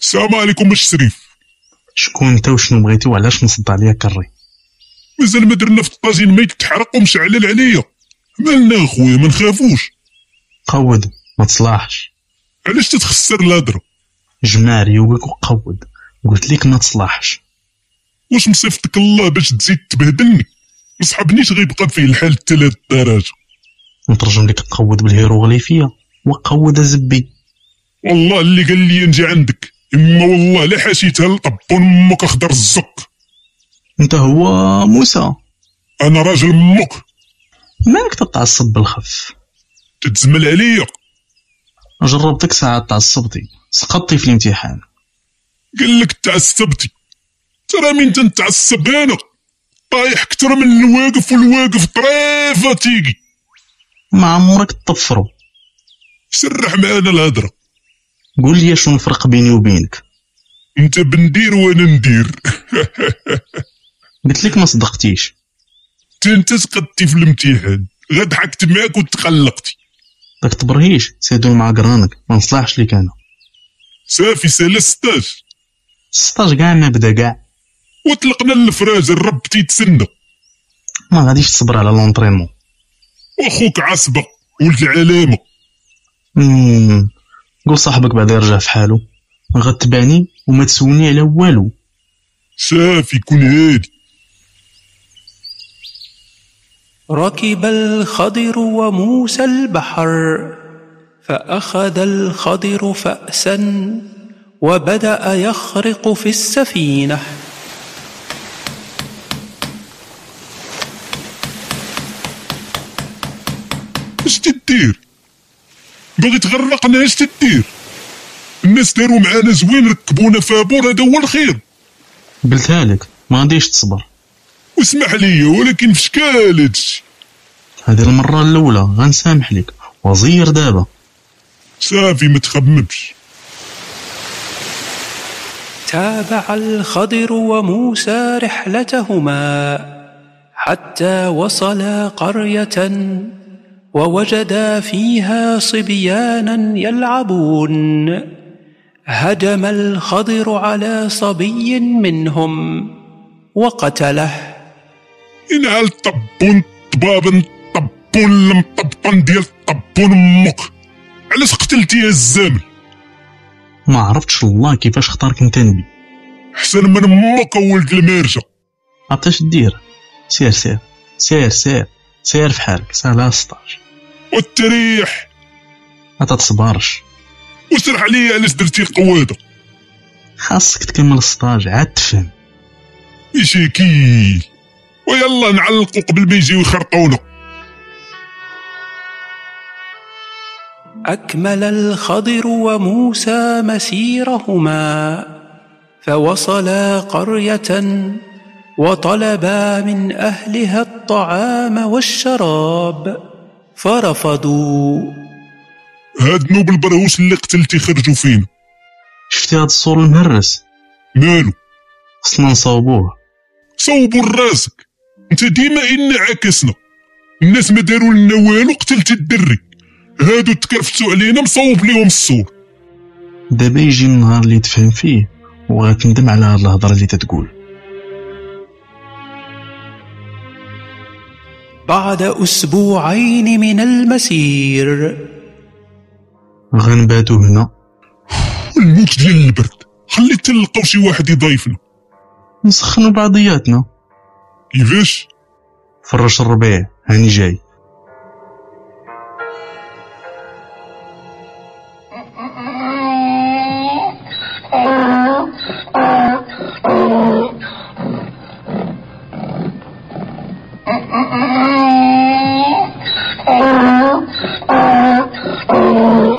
K: السلام عليكم الشريف
V: شكون انت وشنو بغيتي وعلاش نصد عليا كري
K: مازال ما درنا في الطاجين ما يتحرق ومشعلل عليا مالنا اخويا ما نخافوش
V: قود ما تصلاحش
K: علاش تتخسر الهضره
V: جمع ريوقك وقود قلت لك ما تصلاحش
K: واش مصيفطك الله باش تزيد تبهدلني ما صحابنيش غيبقى فيه الحال حتى لهاد الدرجه
V: نترجم لك قود بالهيروغليفيه وقود زبي
K: والله اللي قال لي نجي عندك اما والله لا حاشيتها لطب امك اخضر الزق
V: انت هو موسى
K: انا راجل امك
V: مالك تتعصب بالخف
K: تتزمل عليا
V: جربتك ساعة تعصبتي سقطتي في الامتحان
K: قال لك تعصبتي ترى من تنتعصب انا طايح كتر من الواقف والواقف طريفه تيجي
V: ما عمرك تطفرو
K: سرح معانا الهضره
V: قول لي شنو الفرق بيني وبينك
K: انت بندير وانا ندير
V: قلت لك ما صدقتيش
K: تا انت سقطتي في الامتحان غاد حكت معاك وتقلقتي
V: داك تبرهيش سادو مع قرانك ما نصلحش ليك انا
K: صافي سالا 16
V: 16 كاع ما بدا كاع
K: وطلقنا الفراج الرب تيتسنى
V: ما غاديش تصبر على لونطرينمون
K: واخوك عصبه ولد العلامه
V: مم. قول صاحبك بعدا يرجع في حالو غتبعني وما تسولني على والو
K: صافي كون هادي
A: ركب الخضر وموسى البحر فاخذ الخضر فاسا وبدا يخرق في السفينه
K: اش تدير باغي تغرقنا اش تدير الناس داروا معانا زوين ركبونا فابور هذا هو الخير
V: قلتها لك ما غاديش تصبر
K: واسمح لي ولكن في شكال هادشي
V: هذه المرة الأولى غنسامح لك وزير دابا
K: صافي ما تخممش
A: تابع الخضر وموسى رحلتهما حتى وصلا قريه ووجدا فيها صبيانا يلعبون هجم الخضر على صبي منهم وقتله
K: ينعل الطبون طبابن طبون المطبطن ديال طبون امك علاش قتلتي يا الزامل
V: ما عرفتش الله كيفاش اختارك انت نبي
K: حسن من امك ولد المارجه
V: عطاش دير سير سير سير سير سير في حالك سالا 16
K: والتريح
V: ما تتصبرش
K: وسرح لي علاش درتي القواده
V: خاصك تكمل 16 عاد تفهم
K: يشيكي ويلا نعلقوا قبل ما يجيو يخرطونا
A: اكمل الخضر وموسى مسيرهما فوصلا قرية وطلبا من أهلها الطعام والشراب فرفضوا
K: هاد نوب البرهوس اللي قتلتي خرجوا فينا
V: شفتي هاد السور المهرس
K: مالو
V: خصنا نصاوبوه
K: صوبوا لراسك انت ديما ان عكسنا الناس ما داروا لنا والو قتلتي الدري هادو تكرفتوا علينا مصوب ليهم السور
V: دابا يجي النهار اللي تفهم فيه وغتندم على هاد الهضره اللي تتقول
A: بعد أسبوعين من المسير
V: غنباتو هنا
K: الموت ديال البرد خلي تلقاو شي واحد يضيفنا
V: نسخنوا بعضياتنا
K: كيفاش
V: فرش الربيع هاني جاي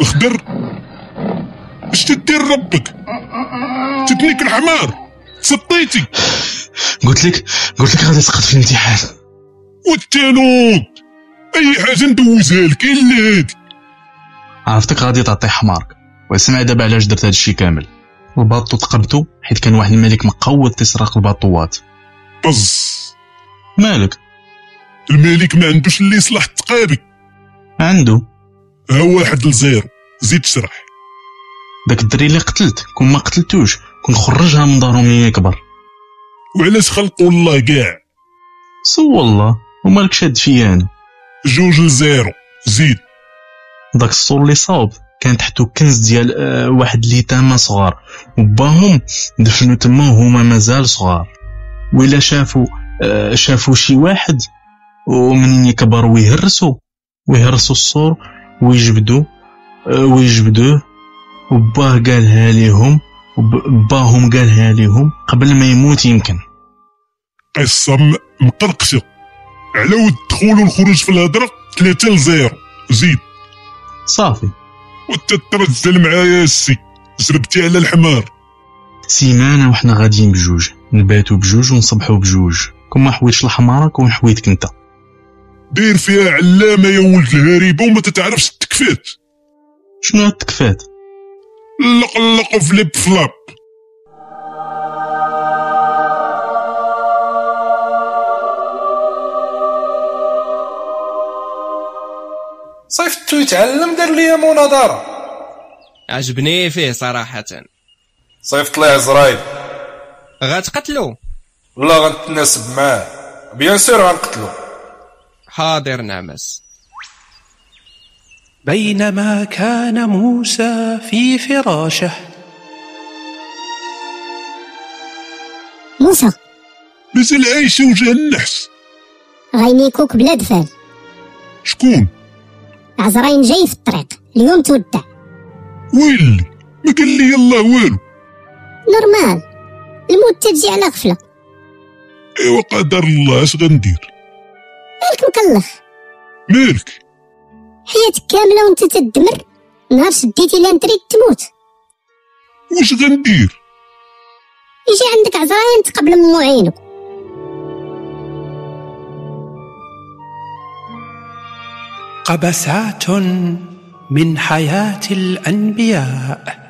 K: اخضر اش تدير ربك تتنيك الحمار سطيتي
V: قلت لك قلت لك غادي تسقط في الامتحان
K: والتالوت اي حاجه ندوزها لك الا هادي
V: عرفتك غادي تعطي حمارك واسمع دابا علاش درت هادشي كامل الباطو تقبتو حيت كان واحد الملك مقود تسرق الباطوات
K: بز
V: مالك
K: الملك ما عندوش اللي يصلح التقابي
V: عنده
K: ها واحد لزيرو زيد شرح
V: داك الدري اللي قتلت كون ما قتلتوش كون خرجها من دارو ملي يكبر
K: وعلاش خلقوا الله كاع
V: سو الله ومالك شاد فيا انا
K: جوج لزيرو زيد
V: داك السور اللي صاوب كان تحتو كنز ديال آه، واحد اليتامى صغار وباهم دفنو تما وهما مازال صغار وإلا شافوا آه، شافوا شي واحد ومنين يكبر ويهرسوا ويهرسوا السور ويجبدوا آه، ويجبدوه وباه قالها ليهم وب- باهم قالها ليهم قبل ما يموت يمكن
K: قصه م- مقرقشه على ود الدخول والخروج في الهضره 3 لزيرو زيد
V: صافي
K: وانت ترجل معايا السي جربتي على الحمار
V: سيمانه وحنا غاديين بجوج نباتو بجوج ونصبحو بجوج كون ما حويتش لحمارك وما حويتك انت
K: داير فيها علامه يا ولد الهريبه وما تتعرفش التكفات
V: شنو هاد التكفات
K: اللق اللق فليب فلاب
C: صيفطتو يتعلم دار ليا مناظره
D: عجبني فيه صراحة
C: صيفط ليه زرايب
D: غتقتلو
C: لا غنتناسب معاه بيان سير غنقتلو
D: حاضر نعمس
A: بينما كان موسى في فراشه
I: موسى
K: مازال عايشه وجه النحس
I: غينيكوك بلا دفال
K: شكون
I: عزرين جاي في الطريق اليوم تودع
K: ويلي ما قال لي يلاه والو
I: نورمال الموت تجي على غفله
K: ايوا أيوة، قدر الله اش غندير
I: بالك مكلخ
K: مالك
I: حياتك كامله وانت تدمر نهار شديتي لانتريد تموت
K: واش غندير
I: يجي عندك عزرين تقبل مو عينو
A: قبسات من حياة الأنبياء